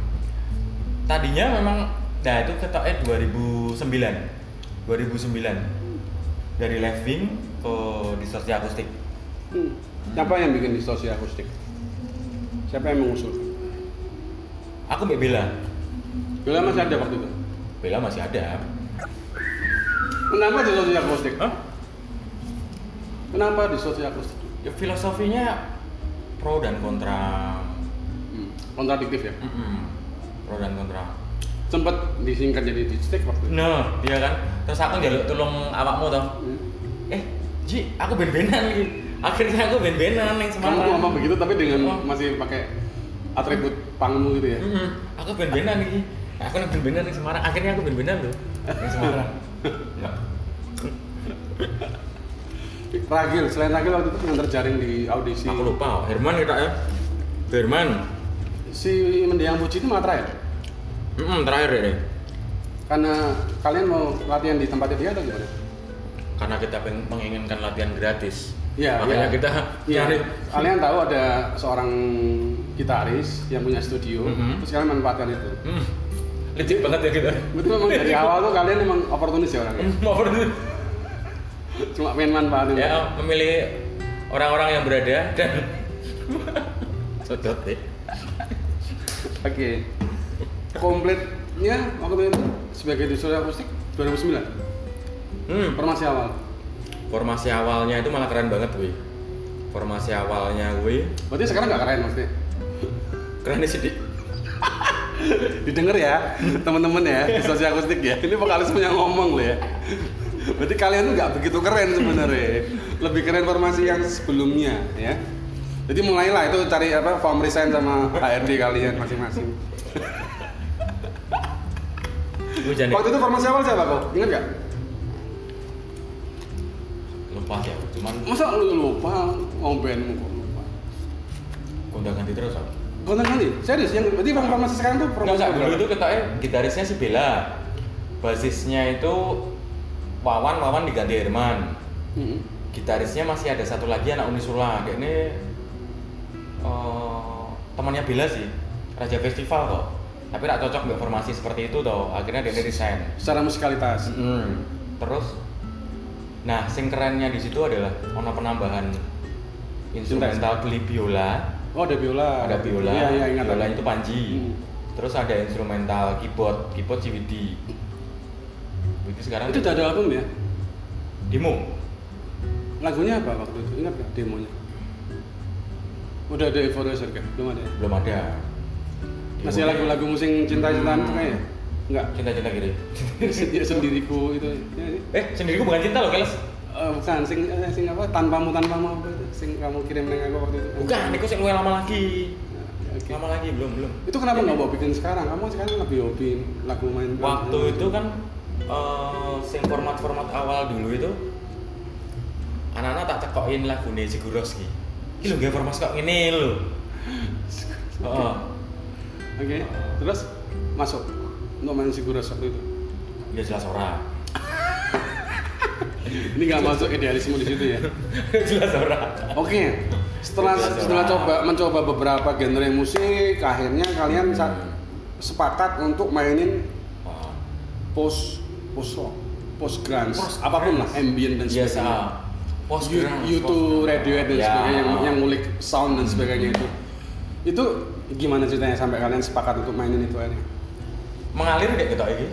Speaker 2: Tadinya memang nah itu ketoknya 2009. 2009 dari living ke distorsi akustik
Speaker 1: Hmm. Siapa yang bikin distorsi akustik? Siapa yang mengusulkan?
Speaker 2: aku mbak Bella
Speaker 1: Bila masih ada waktu itu.
Speaker 2: Bella masih ada
Speaker 1: Kenapa distorsi akustik?
Speaker 2: Hah?
Speaker 1: Kenapa distorsi akustik?
Speaker 2: ya filosofinya pro dan kontra
Speaker 1: Hmm. Kontradiktif ya.
Speaker 2: Mm-mm. pro dan kontra
Speaker 1: Sempat disingkat jadi distik waktu itu.
Speaker 2: nah dia kan terus aku njaluk tolong awakmu toh
Speaker 1: Hmm.
Speaker 2: eh Ji aku ben-benan iki akhirnya aku ben-benan yang
Speaker 1: Kamu
Speaker 2: Semarang
Speaker 1: tuh ngomong begitu tapi dengan
Speaker 2: Oh.
Speaker 1: masih pakai atribut pangmu gitu ya.
Speaker 2: Mm-mm. aku ben-benan iki aku yang ben-benan yang Semarang akhirnya aku ben-benan loh yang Semarang Nah,
Speaker 1: Ragil, selain Ragil waktu itu yang terjaring di audisi
Speaker 2: aku lupa Herman kita ya Herman
Speaker 1: si Mendiang Puji itu matra ya?
Speaker 2: Mm-mm, terakhir ya
Speaker 1: Karena kalian mau latihan di tempatnya dia atau gimana?
Speaker 2: karena kita peng- menginginkan latihan gratis
Speaker 1: Iya,
Speaker 2: makanya
Speaker 1: iya.
Speaker 2: kita
Speaker 1: Iya,
Speaker 2: cari
Speaker 1: kalian tahu ada seorang gitaris yang punya studio,
Speaker 2: Mhm.
Speaker 1: terus kalian manfaatkan itu.
Speaker 2: Hmm, licik banget ya kita
Speaker 1: Betul memang dari awal tuh kalian emang oportunis ya orangnya.
Speaker 2: Hmm, mau perlu-
Speaker 1: Cuma pengen manfaatin.
Speaker 2: ya memilih orang-orang yang berada dan [LAUGHS] cocok deh
Speaker 1: Oke. Komplitnya waktu itu sebagai disuruh akustik 2009
Speaker 2: hmm,
Speaker 1: formasi awal.
Speaker 2: formasi awalnya itu malah keren banget gue formasi awalnya gue
Speaker 1: Berarti sekarang nggak keren maksudnya.
Speaker 2: keren sedikit
Speaker 1: Didengar ya [LAUGHS] teman-teman ya disuruh akustik ya. Ini vokalis punya ngomong loh ya. Berarti kalian tuh nggak begitu keren sebenarnya. Lebih keren formasi yang sebelumnya ya. Jadi mulailah itu cari apa form resign sama HRD kalian masing-masing.
Speaker 2: gue jadi
Speaker 1: Waktu itu formasi awal siapa kok? Ingat nggak?
Speaker 2: lupa ya cuman
Speaker 1: Masa lu lupa ngombenmu kok lupa?
Speaker 2: gue udah ganti terus aku
Speaker 1: Konten kali? Serius? Yang berarti bang formasi sekarang tuh
Speaker 2: Enggak,
Speaker 1: formasi
Speaker 2: enggak. Dulu
Speaker 1: berapa?
Speaker 2: itu ketoknya gitarisnya si Bella. Basisnya itu Wawan, Wawan diganti Herman.
Speaker 1: Mm-mm.
Speaker 2: Gitarisnya masih ada satu lagi anak Unisula. Dia ini eh, temannya Bella sih. Raja Festival kok. Tapi tidak cocok mbak formasi seperti itu toh. Akhirnya dia resign.
Speaker 1: Secara musikalitas. Hmm.
Speaker 2: Mm. Terus Nah, sing kerennya di situ adalah ono penambahan instrumental beli biola,
Speaker 1: Oh ada biola.
Speaker 2: ada biola,
Speaker 1: Iya iya ingat.
Speaker 2: biola itu Panji.
Speaker 1: Hmm.
Speaker 2: Terus ada instrumental keyboard, keyboard si Widi. Widi sekarang
Speaker 1: Itu udah ada album ya?
Speaker 2: demo.
Speaker 1: Lagunya apa waktu itu? Ingat nggak demonya? Udah ada Evolution kan? Belum ada. ya?
Speaker 2: Belum ada.
Speaker 1: Masih
Speaker 2: Demonya
Speaker 1: lagu-lagu musim cinta-cintaan itu kayaknya?
Speaker 2: [LAUGHS]
Speaker 1: Enggak.
Speaker 2: Cinta-cinta kiri.
Speaker 1: Ya, sendiriku itu. Ya, ya.
Speaker 2: Eh, sendiriku bukan cinta loh, Keles.
Speaker 1: Eh, bukan sing eh, sing apa tanpamu tanpamu apa itu sing kamu kirim neng aku waktu itu
Speaker 2: Bukan, niku sing luwih lama lagi.
Speaker 1: Oke.
Speaker 2: Lama lagi belum, belum.
Speaker 1: itu kenapa nggak mau bikin sekarang kamu sekarang lebih hobi lagu main
Speaker 2: waktu itu kan eh sing format-format awal dulu itu anak-anak tak cekokin lagu nih si Guroski ini lho gak format kok ini
Speaker 1: [LAUGHS]
Speaker 2: lho Heeh.
Speaker 1: Oke,
Speaker 2: kan.
Speaker 1: terus masuk untuk main Siguras waktu itu.
Speaker 2: ya jelas ora [LAUGHS]
Speaker 1: Ini nggak masuk idealisme di situ ya.
Speaker 2: jelas ora
Speaker 1: Oke, setelah setelah coba mencoba beberapa genre musik, akhirnya kalian sa- sepakat untuk mainin
Speaker 2: Heeh.
Speaker 1: post post rock, post grunge,
Speaker 2: Post
Speaker 1: apapun lah,
Speaker 2: grunge.
Speaker 1: ambient dan
Speaker 2: biasa
Speaker 1: sebagainya.
Speaker 2: post Hmm.
Speaker 1: You- YouTube, Radiohead
Speaker 2: Ya.
Speaker 1: dan sebagainya yang, yang ngulik sound dan sebagainya itu. Itu gimana ceritanya sampai kalian sepakat untuk mainin itu akhirnya?
Speaker 2: mengalir deh gitu ini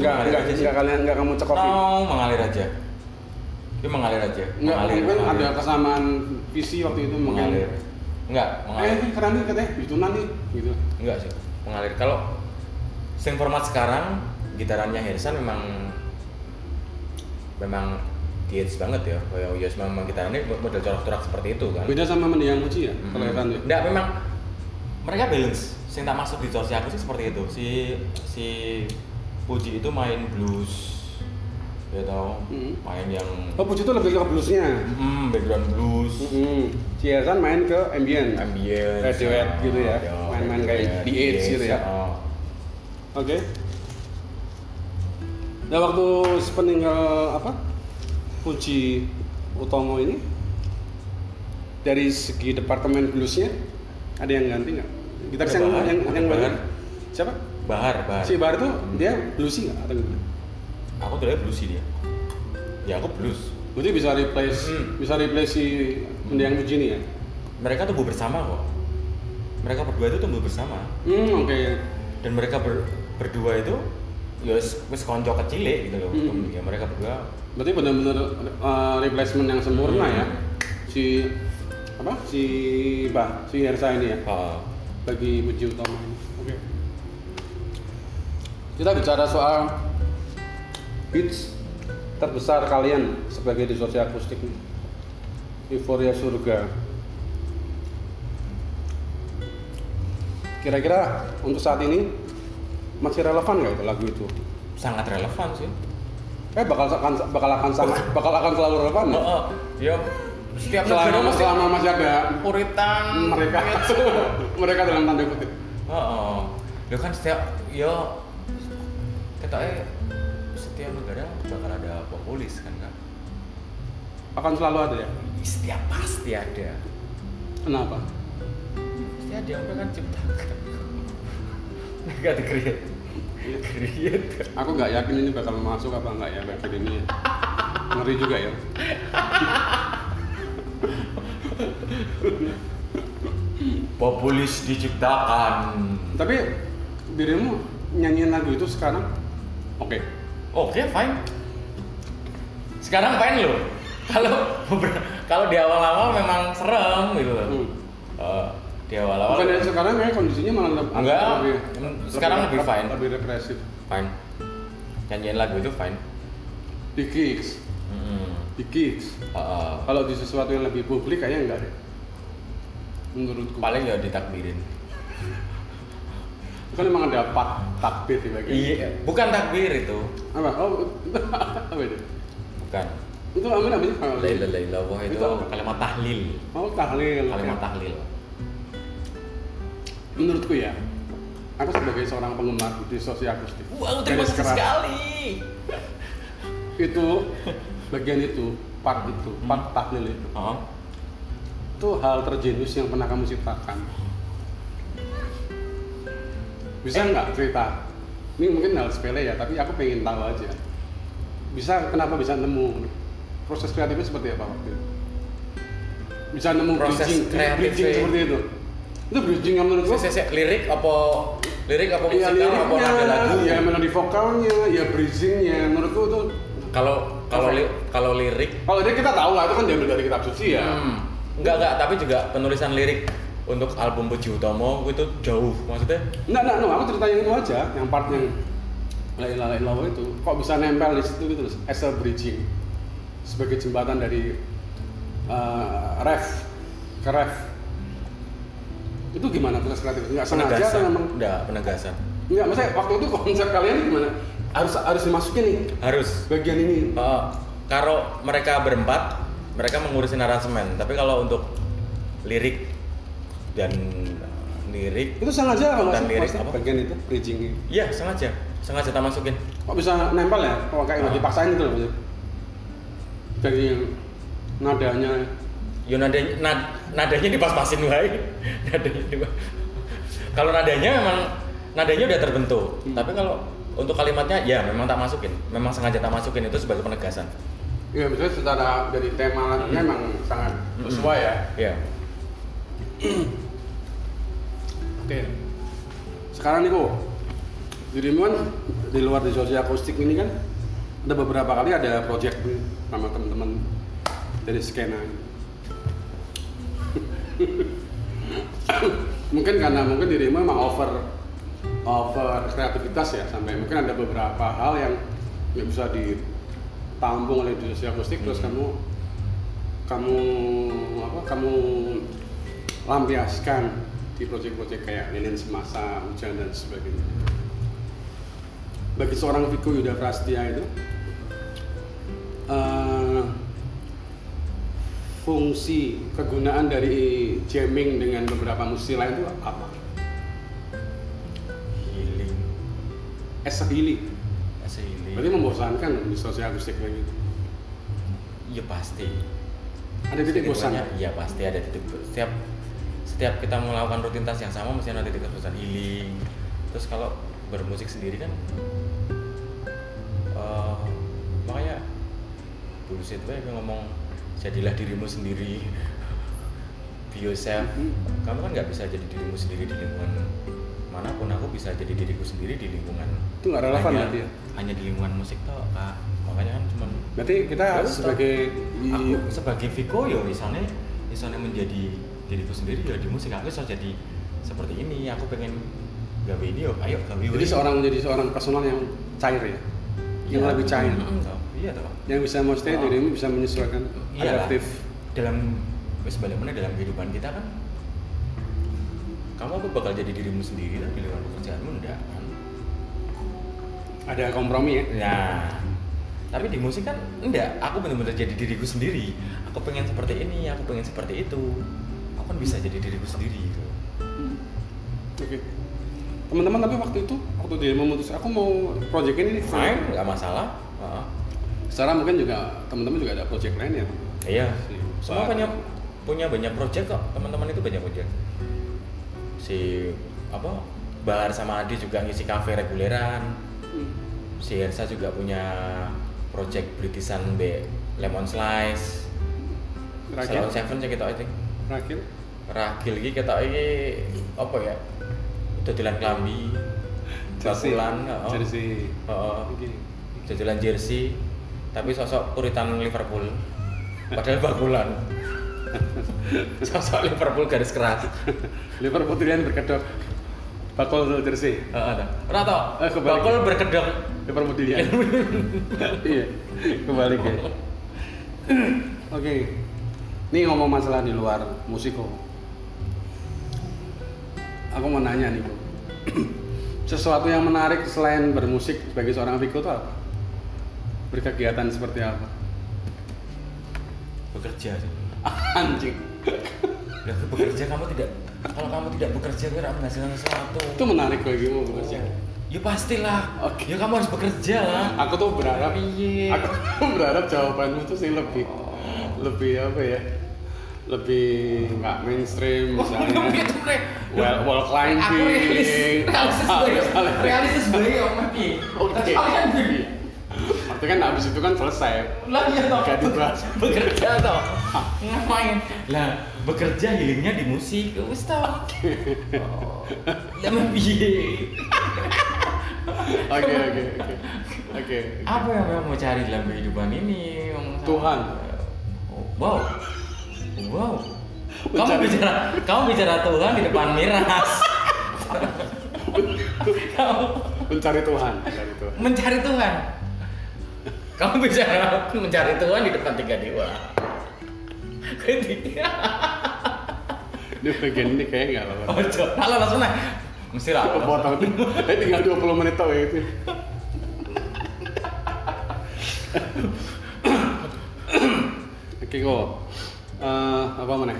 Speaker 1: Enggak,
Speaker 2: mengalir
Speaker 1: enggak,
Speaker 2: aja sih. Oh.
Speaker 1: enggak kalian enggak kamu cekokin.
Speaker 2: No, mengalir aja ini mengalir aja
Speaker 1: Enggak,
Speaker 2: mengalir,
Speaker 1: mungkin ada
Speaker 2: mengalir.
Speaker 1: kesamaan visi waktu itu mungkin.
Speaker 2: mengalir enggak
Speaker 1: Eh,
Speaker 2: mengalir
Speaker 1: ini keren nih katanya, itu nanti gitu.
Speaker 2: Enggak sih, mengalir. Kalau sing format sekarang gitarannya Harrison memang memang diets banget ya. Kayak Yos memang gitarannya model corak-corak seperti itu kan.
Speaker 1: Beda sama mendiang muci ya,
Speaker 2: Mm-mm.
Speaker 1: kalau keren ya.
Speaker 2: Enggak, memang mereka balance. Sing tak masuk di torsi aku sih seperti itu. Si si Puji itu main blues. Ya tau,
Speaker 1: Mm.
Speaker 2: main yang
Speaker 1: Oh, Hmm. Puji itu lebih ke bluesnya.
Speaker 2: Mm, background blues,
Speaker 1: Mm-mm. Si Hasan main ke ambient. Oke.
Speaker 2: ambient,
Speaker 1: Radiohead gitu ya. Main-main kayak The Edge gitu ya.
Speaker 2: oh.
Speaker 1: Nah, waktu peninggal apa? Puji Utomo ini dari segi departemen bluesnya ada yang ganti nggak? Kita
Speaker 2: Ada
Speaker 1: yang
Speaker 2: Bahar,
Speaker 1: yang
Speaker 2: ada
Speaker 1: yang
Speaker 2: Bahar.
Speaker 1: Siapa?
Speaker 2: Bahar, Bahar.
Speaker 1: Si Bar tuh dia bluesy nggak atau gimana?
Speaker 2: aku dulu blues dia ya aku blues
Speaker 1: Berarti bisa replace,
Speaker 2: Hmm.
Speaker 1: bisa replace si mendiang Puji ini ya?
Speaker 2: mereka tumbuh bersama kok mereka berdua itu tumbuh bersama
Speaker 1: Hmm, oke.
Speaker 2: dan mereka ber- berdua itu ya wis wis konco kecil gitu loh
Speaker 1: Mm-mm.
Speaker 2: ya mereka berdua
Speaker 1: Berarti benar-benar uh, replacement yang sempurna ya. Si apa? Si Bah, si Hersa ini ya
Speaker 2: uh,
Speaker 1: bagi Puji Utama ini. Oke. Kita bicara soal hits terbesar kalian sebagai distorsi akustik nih. Euforia Surga. Kira-kira untuk saat ini masih relevan nggak itu lagu itu?
Speaker 2: sangat relevan sih
Speaker 1: Eh bakal akan bakal akan sama bakal akan selalu relevan
Speaker 2: oh,
Speaker 1: ya?
Speaker 2: oh, ya setiap negara
Speaker 1: Selama,
Speaker 2: mesti
Speaker 1: selama masih ada
Speaker 2: puritan
Speaker 1: mereka
Speaker 2: gitu.
Speaker 1: [LAUGHS] mereka dalam tanda kutip.
Speaker 2: oh, oh. ya kan setiap ya katanya setiap negara bakal ada populis kan kan
Speaker 1: Akan selalu ada ya.
Speaker 2: setiap pasti ada
Speaker 1: Kenapa?
Speaker 2: pasti ada yang pengen ciptakan mereka di create create
Speaker 1: Aku nggak yakin ini bakal masuk apa nggak ya bagian ini. ya. Ngeri juga ya.
Speaker 2: populis diciptakan
Speaker 1: Tapi dirimu nyanyiin lagu itu sekarang oke.
Speaker 2: oke Oh, fine sekarang fine loh kalau beber- kalau di awal-awal memang serem gitu loh
Speaker 1: Hmm.
Speaker 2: Eh, di awal-awal
Speaker 1: Bukan ya? dari sekarang kayak kondisinya malah leb-
Speaker 2: Enggak, sekarang lebih fine.
Speaker 1: Lebih represif.
Speaker 2: fine nyanyiin lagu itu fine
Speaker 1: Di gigs,
Speaker 2: Mm-mm.
Speaker 1: di gigs.
Speaker 2: Eh, eh.
Speaker 1: Kalau di sesuatu yang lebih publik kayaknya enggak deh. Menurutku.
Speaker 2: paling ya ditakbirin
Speaker 1: Kan emang ada pat takbir di bagian.
Speaker 2: iya bukan takbir itu
Speaker 1: Apa? Oh, [LAUGHS] apa itu?
Speaker 2: bukan
Speaker 1: Itu amin apa sih?
Speaker 2: la ilaha illallah itu
Speaker 1: Iya. Itu apa?
Speaker 2: kalimat tahlil
Speaker 1: Oh, tahlil.
Speaker 2: kalimat tahlil
Speaker 1: Menurutku ya, aku sebagai seorang penggemar di sosial akustik.
Speaker 2: wow terima
Speaker 1: garis
Speaker 2: kasih
Speaker 1: keras,
Speaker 2: sekali
Speaker 1: Itu bagian itu, part itu, part tahlil itu.
Speaker 2: oh
Speaker 1: Itu hal terjenius yang pernah kamu ciptakan. Bisa nggak cerita? Ini mungkin hal sepele ya, tapi aku pengen tahu aja. Bisa kenapa bisa nemu? Proses kreatifnya seperti apa waktu itu? Bisa nemu
Speaker 2: Proses
Speaker 1: bridging,
Speaker 2: kreatifnya-
Speaker 1: bridging seperti itu. Itu bridging yang menurutku
Speaker 2: saya, lirik apa lirik apa
Speaker 1: Iya
Speaker 2: musikal apa
Speaker 1: liriknya,
Speaker 2: nada lagu
Speaker 1: ya melodi vokalnya, ya bridgingnya. Menurutku itu
Speaker 2: kalau kalau li- kalau lirik
Speaker 1: kalau dia kita tahu lah itu kan diambil dari kitab suci ya.
Speaker 2: hmm, enggak enggak tapi juga penulisan lirik untuk album Puji Utomo itu jauh maksudnya
Speaker 1: Enggak, enggak, enggak, aku cerita yang itu aja, yang part yang la ilaha illallah itu kok bisa nempel di situ gitu loh, as a bridging sebagai jembatan dari eh, ref ke ref. Itu gimana proses kreatif? Enggak sengaja atau
Speaker 2: penegasan
Speaker 1: memang
Speaker 2: enggak penegasan
Speaker 1: enggak, maksudnya waktu itu konsep kalian gimana? Harus harus dimasukin nih
Speaker 2: harus
Speaker 1: bagian ini.
Speaker 2: Eh, kalau mereka berempat mereka mengurusin aransemen tapi kalau untuk lirik dan eh, lirik
Speaker 1: Itu sengaja apa
Speaker 2: Dan
Speaker 1: nggak
Speaker 2: lirik
Speaker 1: sih? Maksudnya
Speaker 2: apa?
Speaker 1: Bagian itu bridgingnya.
Speaker 2: iya sengaja sengaja tak masukin
Speaker 1: kok bisa nempel ya kok kayak nggak
Speaker 2: Ah.
Speaker 1: dipaksain gitu loh maksudnya. dari yang nadanya
Speaker 2: Yo nadanya, nad, nadanya dipas-pasin wae. [LAUGHS] nadanya dipas. Kalau nadanya memang nadanya udah terbentuk.
Speaker 1: Hmm.
Speaker 2: Tapi kalau untuk kalimatnya ya memang tak masukin. Memang sengaja tak masukin itu sebagai penegasan.
Speaker 1: ya maksudnya secara dari tema
Speaker 2: Hmm.
Speaker 1: memang sangat
Speaker 2: Hmm.
Speaker 1: sesuai ya
Speaker 2: Iya.
Speaker 1: oke sekarang nih kok dirimu kan di luar di sosial akustik ini kan ada beberapa kali ada project nih sama teman-teman dari skena [LAUGHS] ini. mungkin karena mungkin dirimu emang over over kreativitas ya sampai mungkin ada beberapa hal yang nggak bisa ditampung oleh industri akustik terus
Speaker 2: Hmm.
Speaker 1: kamu kamu apa kamu lampiaskan di proyek-proyek kayak lilin semasa hujan dan sebagainya bagi seorang Viko Yuda Prastia itu eh, fungsi kegunaan dari jamming dengan beberapa musisi lain itu apa?
Speaker 2: Healing,
Speaker 1: As a healing.
Speaker 2: as a healing.
Speaker 1: Berarti membosankan dong di sosial akustik kayak gitu.
Speaker 2: Iya pasti.
Speaker 1: Ada titik bosan.
Speaker 2: Titik Iya pasti ada titik bosan. Setiap setiap kita melakukan rutinitas yang sama mesti ada titik bosan healing. Terus kalau bermusik sendiri kan eh, bullshit gue ngomong jadilah dirimu sendiri [LAUGHS] be yourself kamu kan nggak bisa jadi dirimu sendiri di lingkungan manapun aku bisa jadi diriku sendiri di lingkungan
Speaker 1: Itu nggak relevan
Speaker 2: hanya,
Speaker 1: berarti ya?
Speaker 2: hanya di lingkungan musik toh kak makanya kan cuman
Speaker 1: Berarti kita
Speaker 2: Terus,
Speaker 1: sebagai
Speaker 2: aku sebagai Viko ya misalnya misalnya menjadi diriku sendiri ya di musik aku bisa jadi seperti ini aku pengen gawe ini yo ayo gawe
Speaker 1: jadi
Speaker 2: ini.
Speaker 1: seorang menjadi seorang personal yang cair ya, yang
Speaker 2: Iya.
Speaker 1: lebih cair,
Speaker 2: Mm-mm, toh. iya toh
Speaker 1: yang bisa maksudnya
Speaker 2: Oh.
Speaker 1: dirimu bisa menyesuaikan,
Speaker 2: Iyalah.
Speaker 1: adaptif.
Speaker 2: dalam wes balik mana dalam kehidupan kita kan kamu apa bakal jadi dirimu sendiri lah di luar pekerjaanmu enggak kan
Speaker 1: Ada kompromi ya.
Speaker 2: nah tapi di musik kan enggak aku bener-bener jadi diriku sendiri aku pengen seperti ini aku pengen seperti itu aku kan bisa jadi diriku sendiri gitu
Speaker 1: Oke. Teman-teman tapi waktu itu waktu dia memutus aku mau project ini nih.
Speaker 2: fine nggak masalah Heeh.
Speaker 1: Secara mungkin juga teman-teman juga ada project lain ya.
Speaker 2: iya
Speaker 1: Si-
Speaker 2: semua
Speaker 1: Pak-
Speaker 2: banyak punya banyak project kok teman-teman itu banyak project si apa Bahar sama Adi juga ngisi kafe reguleran
Speaker 1: Hmm.
Speaker 2: si Hersa juga punya project Britishan B Lemon Slice
Speaker 1: Terakhir,
Speaker 2: Salon Seven sih kita itu
Speaker 1: terakhir.
Speaker 2: Ragil iki kita iki apa ya dodolan klambi
Speaker 1: Jersey.
Speaker 2: bakulan heeh.
Speaker 1: Jersey.
Speaker 2: Heeh.
Speaker 1: Oke.
Speaker 2: dodolan jersey tapi sosok puritan Liverpool padahal bakulan sosok Liverpool garis keras
Speaker 1: Liverpool putirian berkedok. Bakul jersey.
Speaker 2: Heeh. Rata,
Speaker 1: Eh, kebalik.
Speaker 2: bakul berkedok
Speaker 1: Liverpool putirian. ya. [LAUGHS] iya. Kembali ya. Oke. Ini ngomong masalah di luar musik kok. Aku mau nanya nih, Bu. [CLEARS THROAT] Sesuatu yang menarik selain bermusik sebagai seorang Viko itu apa? Berkegiatan seperti apa?
Speaker 2: bekerja sih
Speaker 1: Anjing.
Speaker 2: Lah, bekerja kamu tidak kalau kamu tidak bekerja kamu tidak menghasilkan sesuatu
Speaker 1: Itu menarik bagimu bekerja.
Speaker 2: Ya pastilah.
Speaker 1: Oke.
Speaker 2: Ya kamu harus bekerja lah.
Speaker 1: Aku tuh berharap
Speaker 2: Iya.
Speaker 1: Aku tuh [LAUGHS] berharap jawabanmu tuh sih lebih lebih apa ya? Lebih nggak mainstream
Speaker 2: [LAUGHS]
Speaker 1: misalnya.
Speaker 3: Gitu, Re.
Speaker 1: Well, wall
Speaker 3: Aku realis,
Speaker 1: climbing.
Speaker 3: realistis banget,
Speaker 1: Salah.
Speaker 3: realistis banget ya, Om Mati. Tapi kalian gini,
Speaker 1: Berarti kan habis itu kan selesai.
Speaker 3: lah iya toh,
Speaker 1: Gak dibahas.
Speaker 3: bekerja toh, ngapain?
Speaker 2: Lah, bekerja healingnya di musik.
Speaker 3: Ya wis toh. Oh, ya mem-
Speaker 2: Piye?
Speaker 1: Oke oke oke. Oke.
Speaker 2: Apa yang kamu mau cari dalam kehidupan ini? Om?
Speaker 1: Tuhan.
Speaker 2: Oh, wow. Wow. Kamu
Speaker 1: Mencari-
Speaker 2: bicara, kamu bicara Tuhan di depan miras. kamu
Speaker 1: Mencari Tuhan, mencari Tuhan.
Speaker 2: mencari Tuhan. Kamu bicara mencari Tuhan di depan tiga dewa. Ketika
Speaker 1: Ini bagian ini kayak nggak apa-apa.
Speaker 2: Ojo, halo langsung Oh, nah. Mesti lah.
Speaker 1: Kepotong. Eh tinggal 20 menit tau ya itu. Oke kok. Eh apa mana?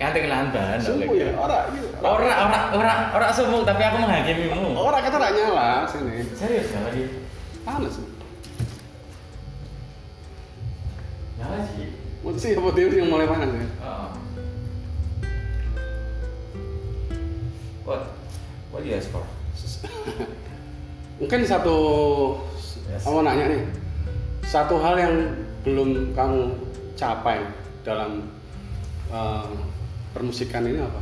Speaker 2: Kanti kelan bahan.
Speaker 1: Sumbu ya, ora gitu.
Speaker 2: Ora ora ora ora sumuk tapi aku menghakimimu.
Speaker 1: Ora kata nggak nyala sini.
Speaker 2: Serius sama dia?
Speaker 1: Panas.
Speaker 2: Nyala sih.
Speaker 1: Mau sih apa dia yang mulai panas ya?
Speaker 2: Oh. What? What do you ask for?
Speaker 1: Mungkin satu,
Speaker 2: Yes.
Speaker 1: aku mau nanya nih, satu hal yang belum kamu capai dalam eh, permusikan ini apa?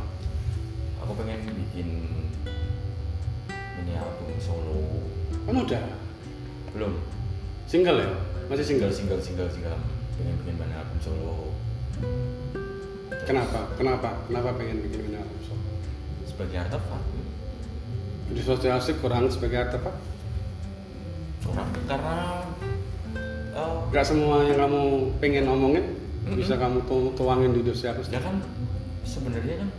Speaker 2: Aku pengen bikin mini album solo.
Speaker 1: Kan udah
Speaker 2: Belum.
Speaker 1: single ya, masih
Speaker 2: Single
Speaker 1: single.
Speaker 2: single single single. Pengen bikin mana album solo.
Speaker 1: Kenapa? Kenapa? Kenapa pengen bikin ini album solo?
Speaker 2: Sebagai artefak.
Speaker 1: Di sosial asik kurang sebagai artefak.
Speaker 2: Kurang, karena eh,
Speaker 1: Gak semua yang kamu pengen omongin bisa kamu tu- tuangin di sosial
Speaker 2: ya
Speaker 1: akustik.
Speaker 2: kan sebenarnya kan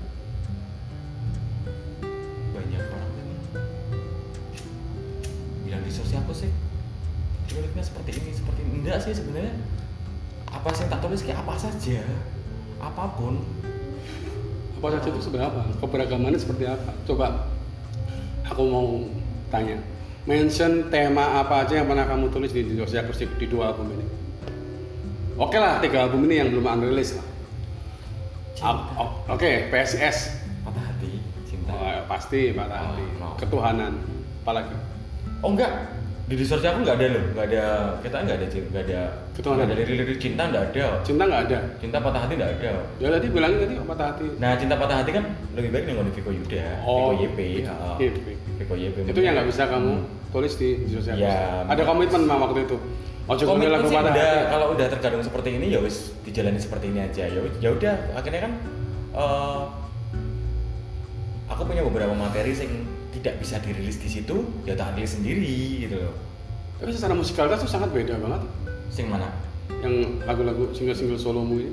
Speaker 2: banyak orang yang bilang di sosial aku sih liriknya seperti ini seperti ini enggak sih sebenarnya apa sih yang tak tulis kayak apa saja apapun
Speaker 1: Apa saja itu seberapa? Keberagamannya seperti apa? Coba aku mau tanya. Mention tema apa aja yang pernah kamu tulis di Jogja Akustik di dua album ini? Oke lah, tiga album ini yang belum unreleased lah. Ab-
Speaker 2: cinta
Speaker 1: o- Oke, PSS
Speaker 2: patah hati cinta
Speaker 1: Oh, pasti patah hati,
Speaker 2: Oh, no.
Speaker 1: ketuhanan, apalagi
Speaker 2: oh enggak di research aku nggak ada loh nggak ada kita nggak ada cinta nggak ada
Speaker 1: Betul,
Speaker 2: nggak ada
Speaker 1: nggak ada.
Speaker 2: lirik-lirik cinta nggak ada
Speaker 1: Cinta nggak ada.
Speaker 2: cinta patah hati nggak ada
Speaker 1: Ya tadi bilangin tadi apa hati.
Speaker 2: nah cinta patah hati kan lebih baik dengan Viko Yuda
Speaker 1: Oh,
Speaker 2: Viko YP heeh.
Speaker 1: YP.
Speaker 2: Viko YP
Speaker 1: Itu yang nggak bisa kamu
Speaker 2: Hmm.
Speaker 1: tulis di sosial.
Speaker 2: Ya,
Speaker 1: Ada komitmen mah waktu itu. Oh cukup
Speaker 2: komitmen
Speaker 1: lagu
Speaker 2: sih
Speaker 1: patah
Speaker 2: udah
Speaker 1: hati.
Speaker 2: kalau udah terkadang seperti ini ya wis dijalani seperti ini aja ya ya udah akhirnya kan eh, aku punya beberapa materi yang tidak bisa dirilis di situ ya tak rilis sendiri gitu loh
Speaker 1: Tapi secara musikalitas itu sangat beda banget.
Speaker 2: sing mana
Speaker 1: Yang lagu-lagu single-single solomu ini.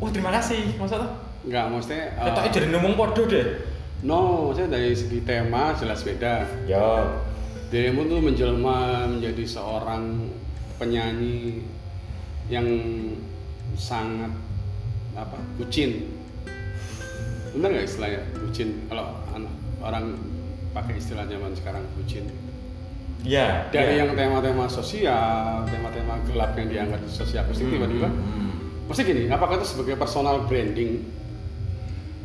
Speaker 2: wah terima kasih masa tuh
Speaker 1: Nggak, maksudnya... eh,
Speaker 2: kita jadi ngomong podo deh
Speaker 1: No, maksudnya dari segi tema jelas beda.
Speaker 2: ya
Speaker 1: Dirimu tuh menjelma menjadi seorang penyanyi yang sangat apa bucin. Bener nggak istilahnya bucin? Kalau anak- orang pakai istilah zaman sekarang bucin.
Speaker 2: ya
Speaker 1: Dari
Speaker 2: ya.
Speaker 1: yang tema-tema sosial, tema-tema gelap yang diangkat di sosial positif tiba-tiba.
Speaker 2: Hmm.
Speaker 1: Pasti gini, apakah itu sebagai personal branding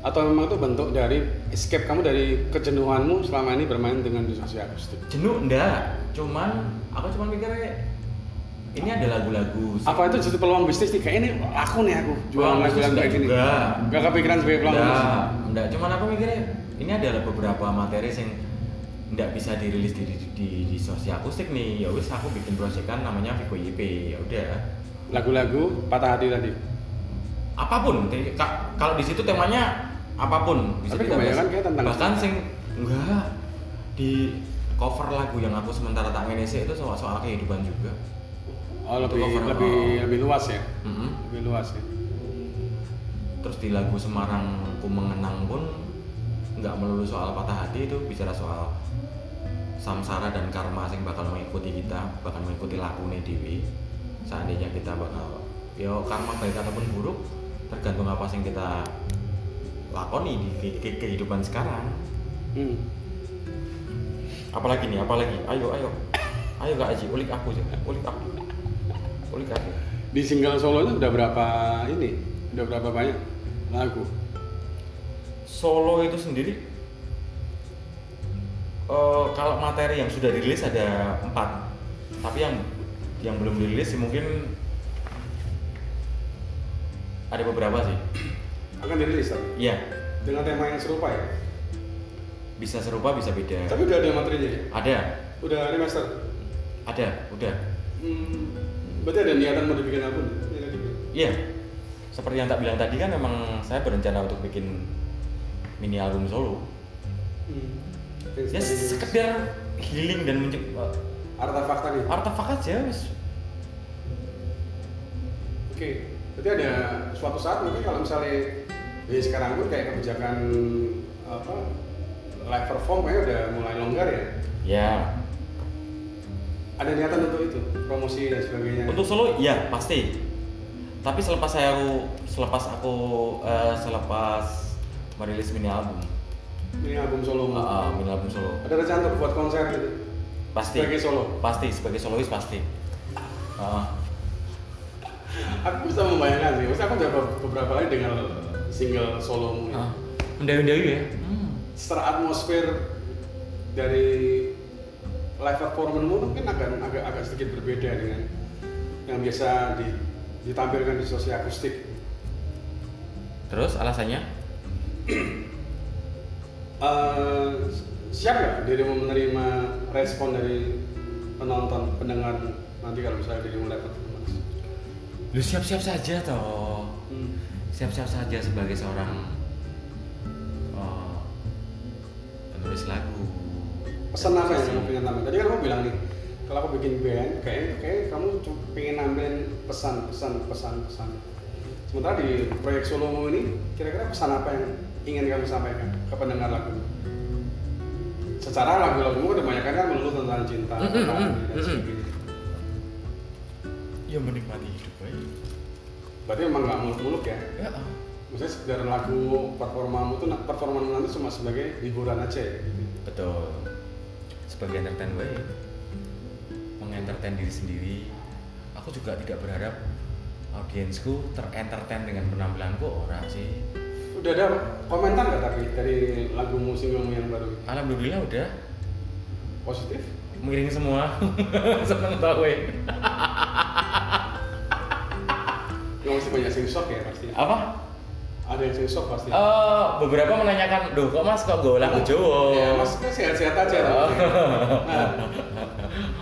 Speaker 1: atau memang itu bentuk dari escape kamu dari kejenuhanmu selama ini bermain dengan di sosial akustik?
Speaker 2: jenuh enggak cuman aku cuman mikirnya ini ada lagu-lagu sing-
Speaker 1: Apa itu justru peluang bisnis nih? Kayak ini aku nih aku jualan
Speaker 2: Peluang
Speaker 1: lagu-lagu
Speaker 2: bisnis
Speaker 1: kayak gini.
Speaker 2: juga.
Speaker 1: Gak kepikiran sebagai peluang bisnis.
Speaker 2: Enggak, enggak. Cuman aku mikirnya ini adalah beberapa materi yang enggak bisa dirilis di di, di, di sosial akustik nih. Ya wis aku bikin proyekan namanya Vico YP. Ya udah.
Speaker 1: Lagu-lagu patah hati tadi.
Speaker 2: Apapun te- ka- kalau di situ temanya apapun
Speaker 1: Tapi
Speaker 2: kita bahas.
Speaker 1: kebanyakan kayak tentang-
Speaker 2: bahkan sing enggak di cover lagu yang aku sementara tak ngisi itu soal soal kehidupan juga.
Speaker 1: Oh
Speaker 2: Itu
Speaker 1: lebih
Speaker 2: cover.
Speaker 1: lebih lebih luas ya,
Speaker 2: Mm-mm.
Speaker 1: lebih luas ya.
Speaker 2: terus di lagu Semarang ku mengenang pun nggak melulu soal patah hati itu bicara soal samsara dan karma yang bakal mengikuti kita bakal mengikuti lakune dewi seandainya kita bakal yo karma baik ataupun buruk tergantung apa yang kita lakoni di ke- ke- kehidupan sekarang
Speaker 1: Hmm.
Speaker 2: apalagi nih apalagi ayo ayo ayo kak Aji ulik aku aja ulik aku ulik aku
Speaker 1: Di single solonya udah berapa ini? Udah berapa banyak lagu?
Speaker 2: Solo itu sendiri eh, kalau materi yang sudah dirilis ada empat, tapi yang yang belum dirilis sih mungkin ada beberapa sih.
Speaker 1: Akan dirilis tapi
Speaker 2: Iya,
Speaker 1: dengan tema yang serupa ya.
Speaker 2: bisa serupa bisa beda.
Speaker 1: Tapi udah ada materinya ya?
Speaker 2: Ada,
Speaker 1: Udah remaster.
Speaker 2: ada, udah.
Speaker 1: Hmm, berarti ada niatan mau dibikin album? gitu. Ini lagi.
Speaker 2: Iya, seperti yang tak bilang tadi kan memang saya berencana untuk bikin mini album solo.
Speaker 1: Hmm.
Speaker 2: Ya sekedar Ah. healing dan mencoba
Speaker 1: artefak tadi. Oke.
Speaker 2: artefak aja. wes.
Speaker 1: Berarti ada suatu saat nanti kalau misalnya ya sekarang pun kayak kebijakan apa live perform kayaknya udah mulai longgar ya.
Speaker 2: Ya,
Speaker 1: Ada niatan untuk itu, promosi dan sebagainya.
Speaker 2: Untuk Solo, iya pasti. Tapi selepas saya aku, selepas aku, eh, selepas merilis mini album,
Speaker 1: ini album solo.
Speaker 2: Eh, eh, mini album Solo,
Speaker 1: Ada rencana untuk buat konser gitu.
Speaker 2: pasti.
Speaker 1: Sebagai solo?
Speaker 2: Pasti sebagai solois pasti. Eh,
Speaker 1: Aku bisa membayangkan sih. Maksudnya aku udah beberapa kali dengar single solomu. ini.
Speaker 2: eh, mendayu-mendayu ya. Hmm.
Speaker 1: secara atmosfer dari live performance mungkin agak agak agak sedikit berbeda dengan yang biasa di- ditampilkan di sosial akustik.
Speaker 2: Terus alasannya?
Speaker 1: Eh, siap nggak dirimu menerima respon dari penonton pendengar nanti kalau misalnya dirimu live performance?
Speaker 2: Lu siap-siap saja toh.
Speaker 1: Hmm.
Speaker 2: Siap-siap saja sebagai seorang eh, penulis lagu.
Speaker 1: Pesan apa yang kamu pengen tampilkan? Tadi kan kamu bilang nih kalau aku bikin band, kayaknya kayak kamu cuma pengen nampilin pesan-pesan pesan-pesan. Sementara di proyek solomu ini, kira-kira pesan apa yang ingin kamu sampaikan ke pendengar lagu? Secara lagu-lagumu kebanyakan kan melulu tentang cinta,
Speaker 2: Mm-mm,
Speaker 1: tentang
Speaker 2: mm-mm,
Speaker 1: ini, dan
Speaker 2: mm-mm.
Speaker 1: sebagainya.
Speaker 2: Ya menikmati hidup aja.
Speaker 1: Berarti memang nggak muluk-muluk ya?
Speaker 2: Ya. ah.
Speaker 1: Maksudnya sekedar lagu performamu tuh nah, performamu nanti cuma sebagai hiburan aja ya? gitu.
Speaker 2: Betul. Sebagai entertain gue, mengentertain diri sendiri. Aku juga tidak berharap audiensku terentertain dengan penampilanku orang sih.
Speaker 1: Udah ada komentar nggak tapi dari lagumu singlemu yang baru?
Speaker 2: Alhamdulillah udah
Speaker 1: Positif?
Speaker 2: miring semua [LAUGHS] seneng tau gue
Speaker 1: Yang mesti banyak sing shock ya pasti.
Speaker 2: apa
Speaker 1: Ada yang sing shock pasti.
Speaker 2: Eh, beberapa menanyakan duh kok mas kok gak lagu Jawa
Speaker 1: Ya, mas kan sehat-sehat aja.
Speaker 2: Oh.
Speaker 1: Nah,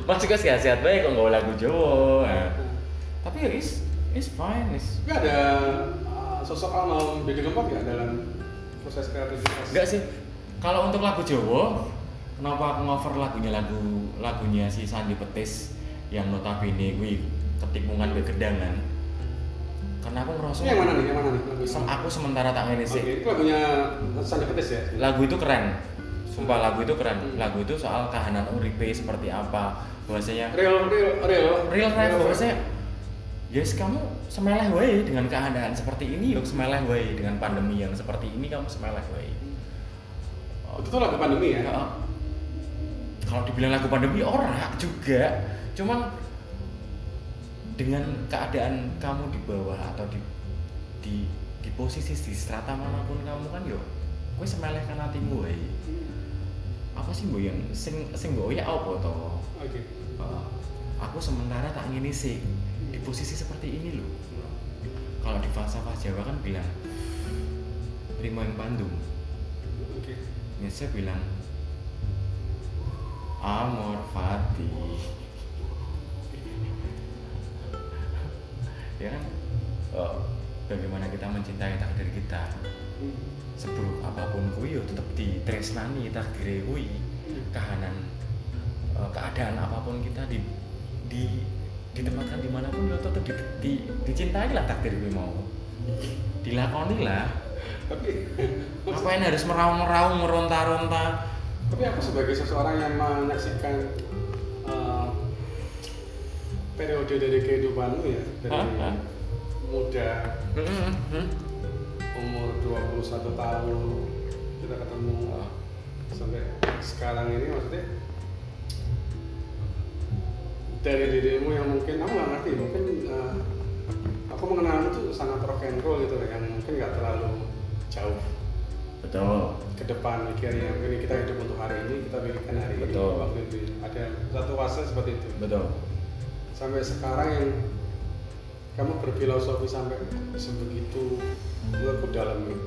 Speaker 2: mas juga sehat-sehat baik kok gak lagu Jawa Nah, tapi ya is is fine is
Speaker 1: tapi ada uh, sosok almarhum Didi Kempot ya dalam proses kreativitas.
Speaker 2: enggak sih kalau untuk lagu Jawa kenapa aku ngover lagunya lagu lagunya si Sandi Petis yang notabene gue ketipungan gue gedangan karena aku ngerasa
Speaker 1: Ini yang mana nih? Yang mana nih? Lagu yang
Speaker 2: Sem-
Speaker 1: mana?
Speaker 2: aku sementara tak ngene
Speaker 1: Oke,
Speaker 2: sih
Speaker 1: itu lagunya Sandi Petis ya?
Speaker 2: lagu itu keren sumpah lagu itu keren
Speaker 1: Hmm.
Speaker 2: lagu itu soal kahanan uripe seperti apa bahwasanya
Speaker 1: Real, real, real.
Speaker 2: real life bahwasanya yes kamu semeleh wae dengan keadaan seperti ini yuk semeleh wae dengan pandemi yang seperti ini kamu semeleh wae
Speaker 1: Itu tuh lagu pandemi ya?
Speaker 2: Nah, kalau dibilang lagu pandemi orang juga cuman dengan keadaan kamu di bawah atau di di di posisi di strata manapun kamu kan yo gue semeleh kan hatimu wae apa sih mbok yang sing sing mbok ya apa to
Speaker 1: Oke.
Speaker 2: Heeh. aku sementara tak ngini sih di posisi seperti ini loh kalau di falsafah Jawa kan bilang terima yang pandung
Speaker 1: Oke.
Speaker 2: Nietzsche Ya, bilang amor fati ya kan Eh, bagaimana kita mencintai takdir kita
Speaker 1: Hmm.
Speaker 2: seburuk apapun kui yo tetep ditresnani takdir kui kahanan eh, keadaan apapun kita di di ditempatkan dimanapun yo tetep di, di, dicintai lah takdir kui mau dilakoni lah
Speaker 1: Tapi,
Speaker 2: ngapain harus meraung-meraung meronta-ronta
Speaker 1: tapi aku sebagai seseorang yang menyaksikan eh, periode dari kehidupanmu ya, dari
Speaker 2: Hah? Hah?
Speaker 1: muda umur 21 tahun kita ketemu sampai sekarang ini maksudnya dari dirimu yang mungkin aku nggak ngerti mungkin eh, aku mengenalmu tuh sangat rock and roll gitu loh, yang mungkin nggak terlalu jauh
Speaker 2: betul
Speaker 1: ke depan mikirnya mungkin kita hidup untuk hari ini kita pikirkan hari
Speaker 2: Betul.
Speaker 1: ini waktu itu ya, ada satu fase seperti itu
Speaker 2: betul
Speaker 1: sampai sekarang yang kamu berfilosofi sampai sebegitu menurutku dalam nih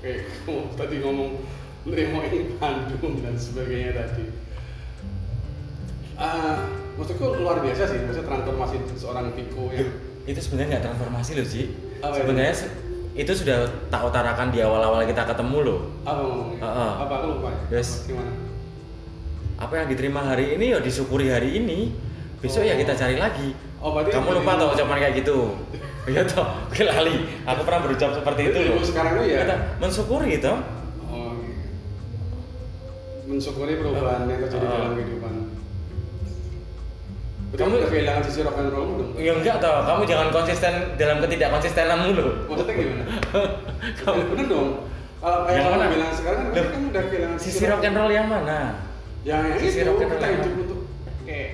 Speaker 1: kayak kamu tadi ngomong nerima ini Bandung dan sebagainya tadi Ah, maksudku luar biasa sih maksudnya transformasi seorang Piko yang
Speaker 2: itu sebenarnya nggak transformasi loh sih
Speaker 1: Apa itu?
Speaker 2: sebenarnya se- itu sudah tak utarakan di awal-awal kita ketemu loh
Speaker 1: apa ngomongnya
Speaker 2: Ah, ah.
Speaker 1: apa aku lupa ya
Speaker 2: Yes.
Speaker 1: gimana
Speaker 2: apa yang diterima hari ini ya disyukuri hari ini besok ya
Speaker 1: Oh.
Speaker 2: kita cari lagi
Speaker 1: Oh, berarti
Speaker 2: kamu
Speaker 1: jadi-
Speaker 2: lupa tau ucapan kayak gitu [LAUGHS] iya toh gue lali aku pernah berucap seperti itu
Speaker 1: Jadi
Speaker 2: loh
Speaker 1: dirimu sekarang tuh ya
Speaker 2: Kata, mensyukuri toh
Speaker 1: oh, oke. mensyukuri perubahan yang terjadi
Speaker 2: Ah.
Speaker 1: dalam kehidupan Berarti
Speaker 2: Kamu-
Speaker 1: kamu udah kehilangan sisi rock and roll dong
Speaker 2: ya enggak toh kamu jangan konsisten dalam ketidakkonsistenanmu loh
Speaker 1: Maksudnya
Speaker 2: [LAUGHS]
Speaker 1: gimana?
Speaker 2: kamu
Speaker 1: Bener dong. Kalau kayak
Speaker 2: Yang
Speaker 1: kamu
Speaker 2: mana?
Speaker 1: bilang sekarang kan
Speaker 2: Loh,
Speaker 1: kamu udah kehilangan
Speaker 2: sisi rock and roll yang mana
Speaker 1: Yang yang
Speaker 2: sisi
Speaker 1: itu
Speaker 2: rock and roll
Speaker 1: kita
Speaker 2: yang
Speaker 1: hidup
Speaker 2: mana?
Speaker 1: untuk eh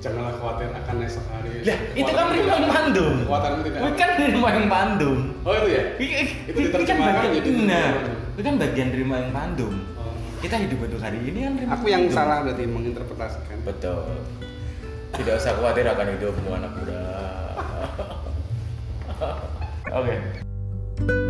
Speaker 1: janganlah khawatir akan esok hari.
Speaker 2: Lah, itu kan
Speaker 1: Kekuatanmu
Speaker 2: Rima yang
Speaker 1: tidak-
Speaker 2: Bandung.
Speaker 1: Kekuatanmu tidak.
Speaker 2: Itu kan Rima yang Bandung.
Speaker 1: Oh itu ya.
Speaker 2: Itu
Speaker 1: Itu diterjemahkan jadi Rima
Speaker 2: Nah,
Speaker 1: yang Bandung.
Speaker 2: itu kan bagian Rima yang Bandung. Kita hidup untuk hari ini kan Rima Bandung.
Speaker 1: berarti menginterpretasikan.
Speaker 2: Betul. Tidak usah khawatir akan hidupmu anak muda. Oke.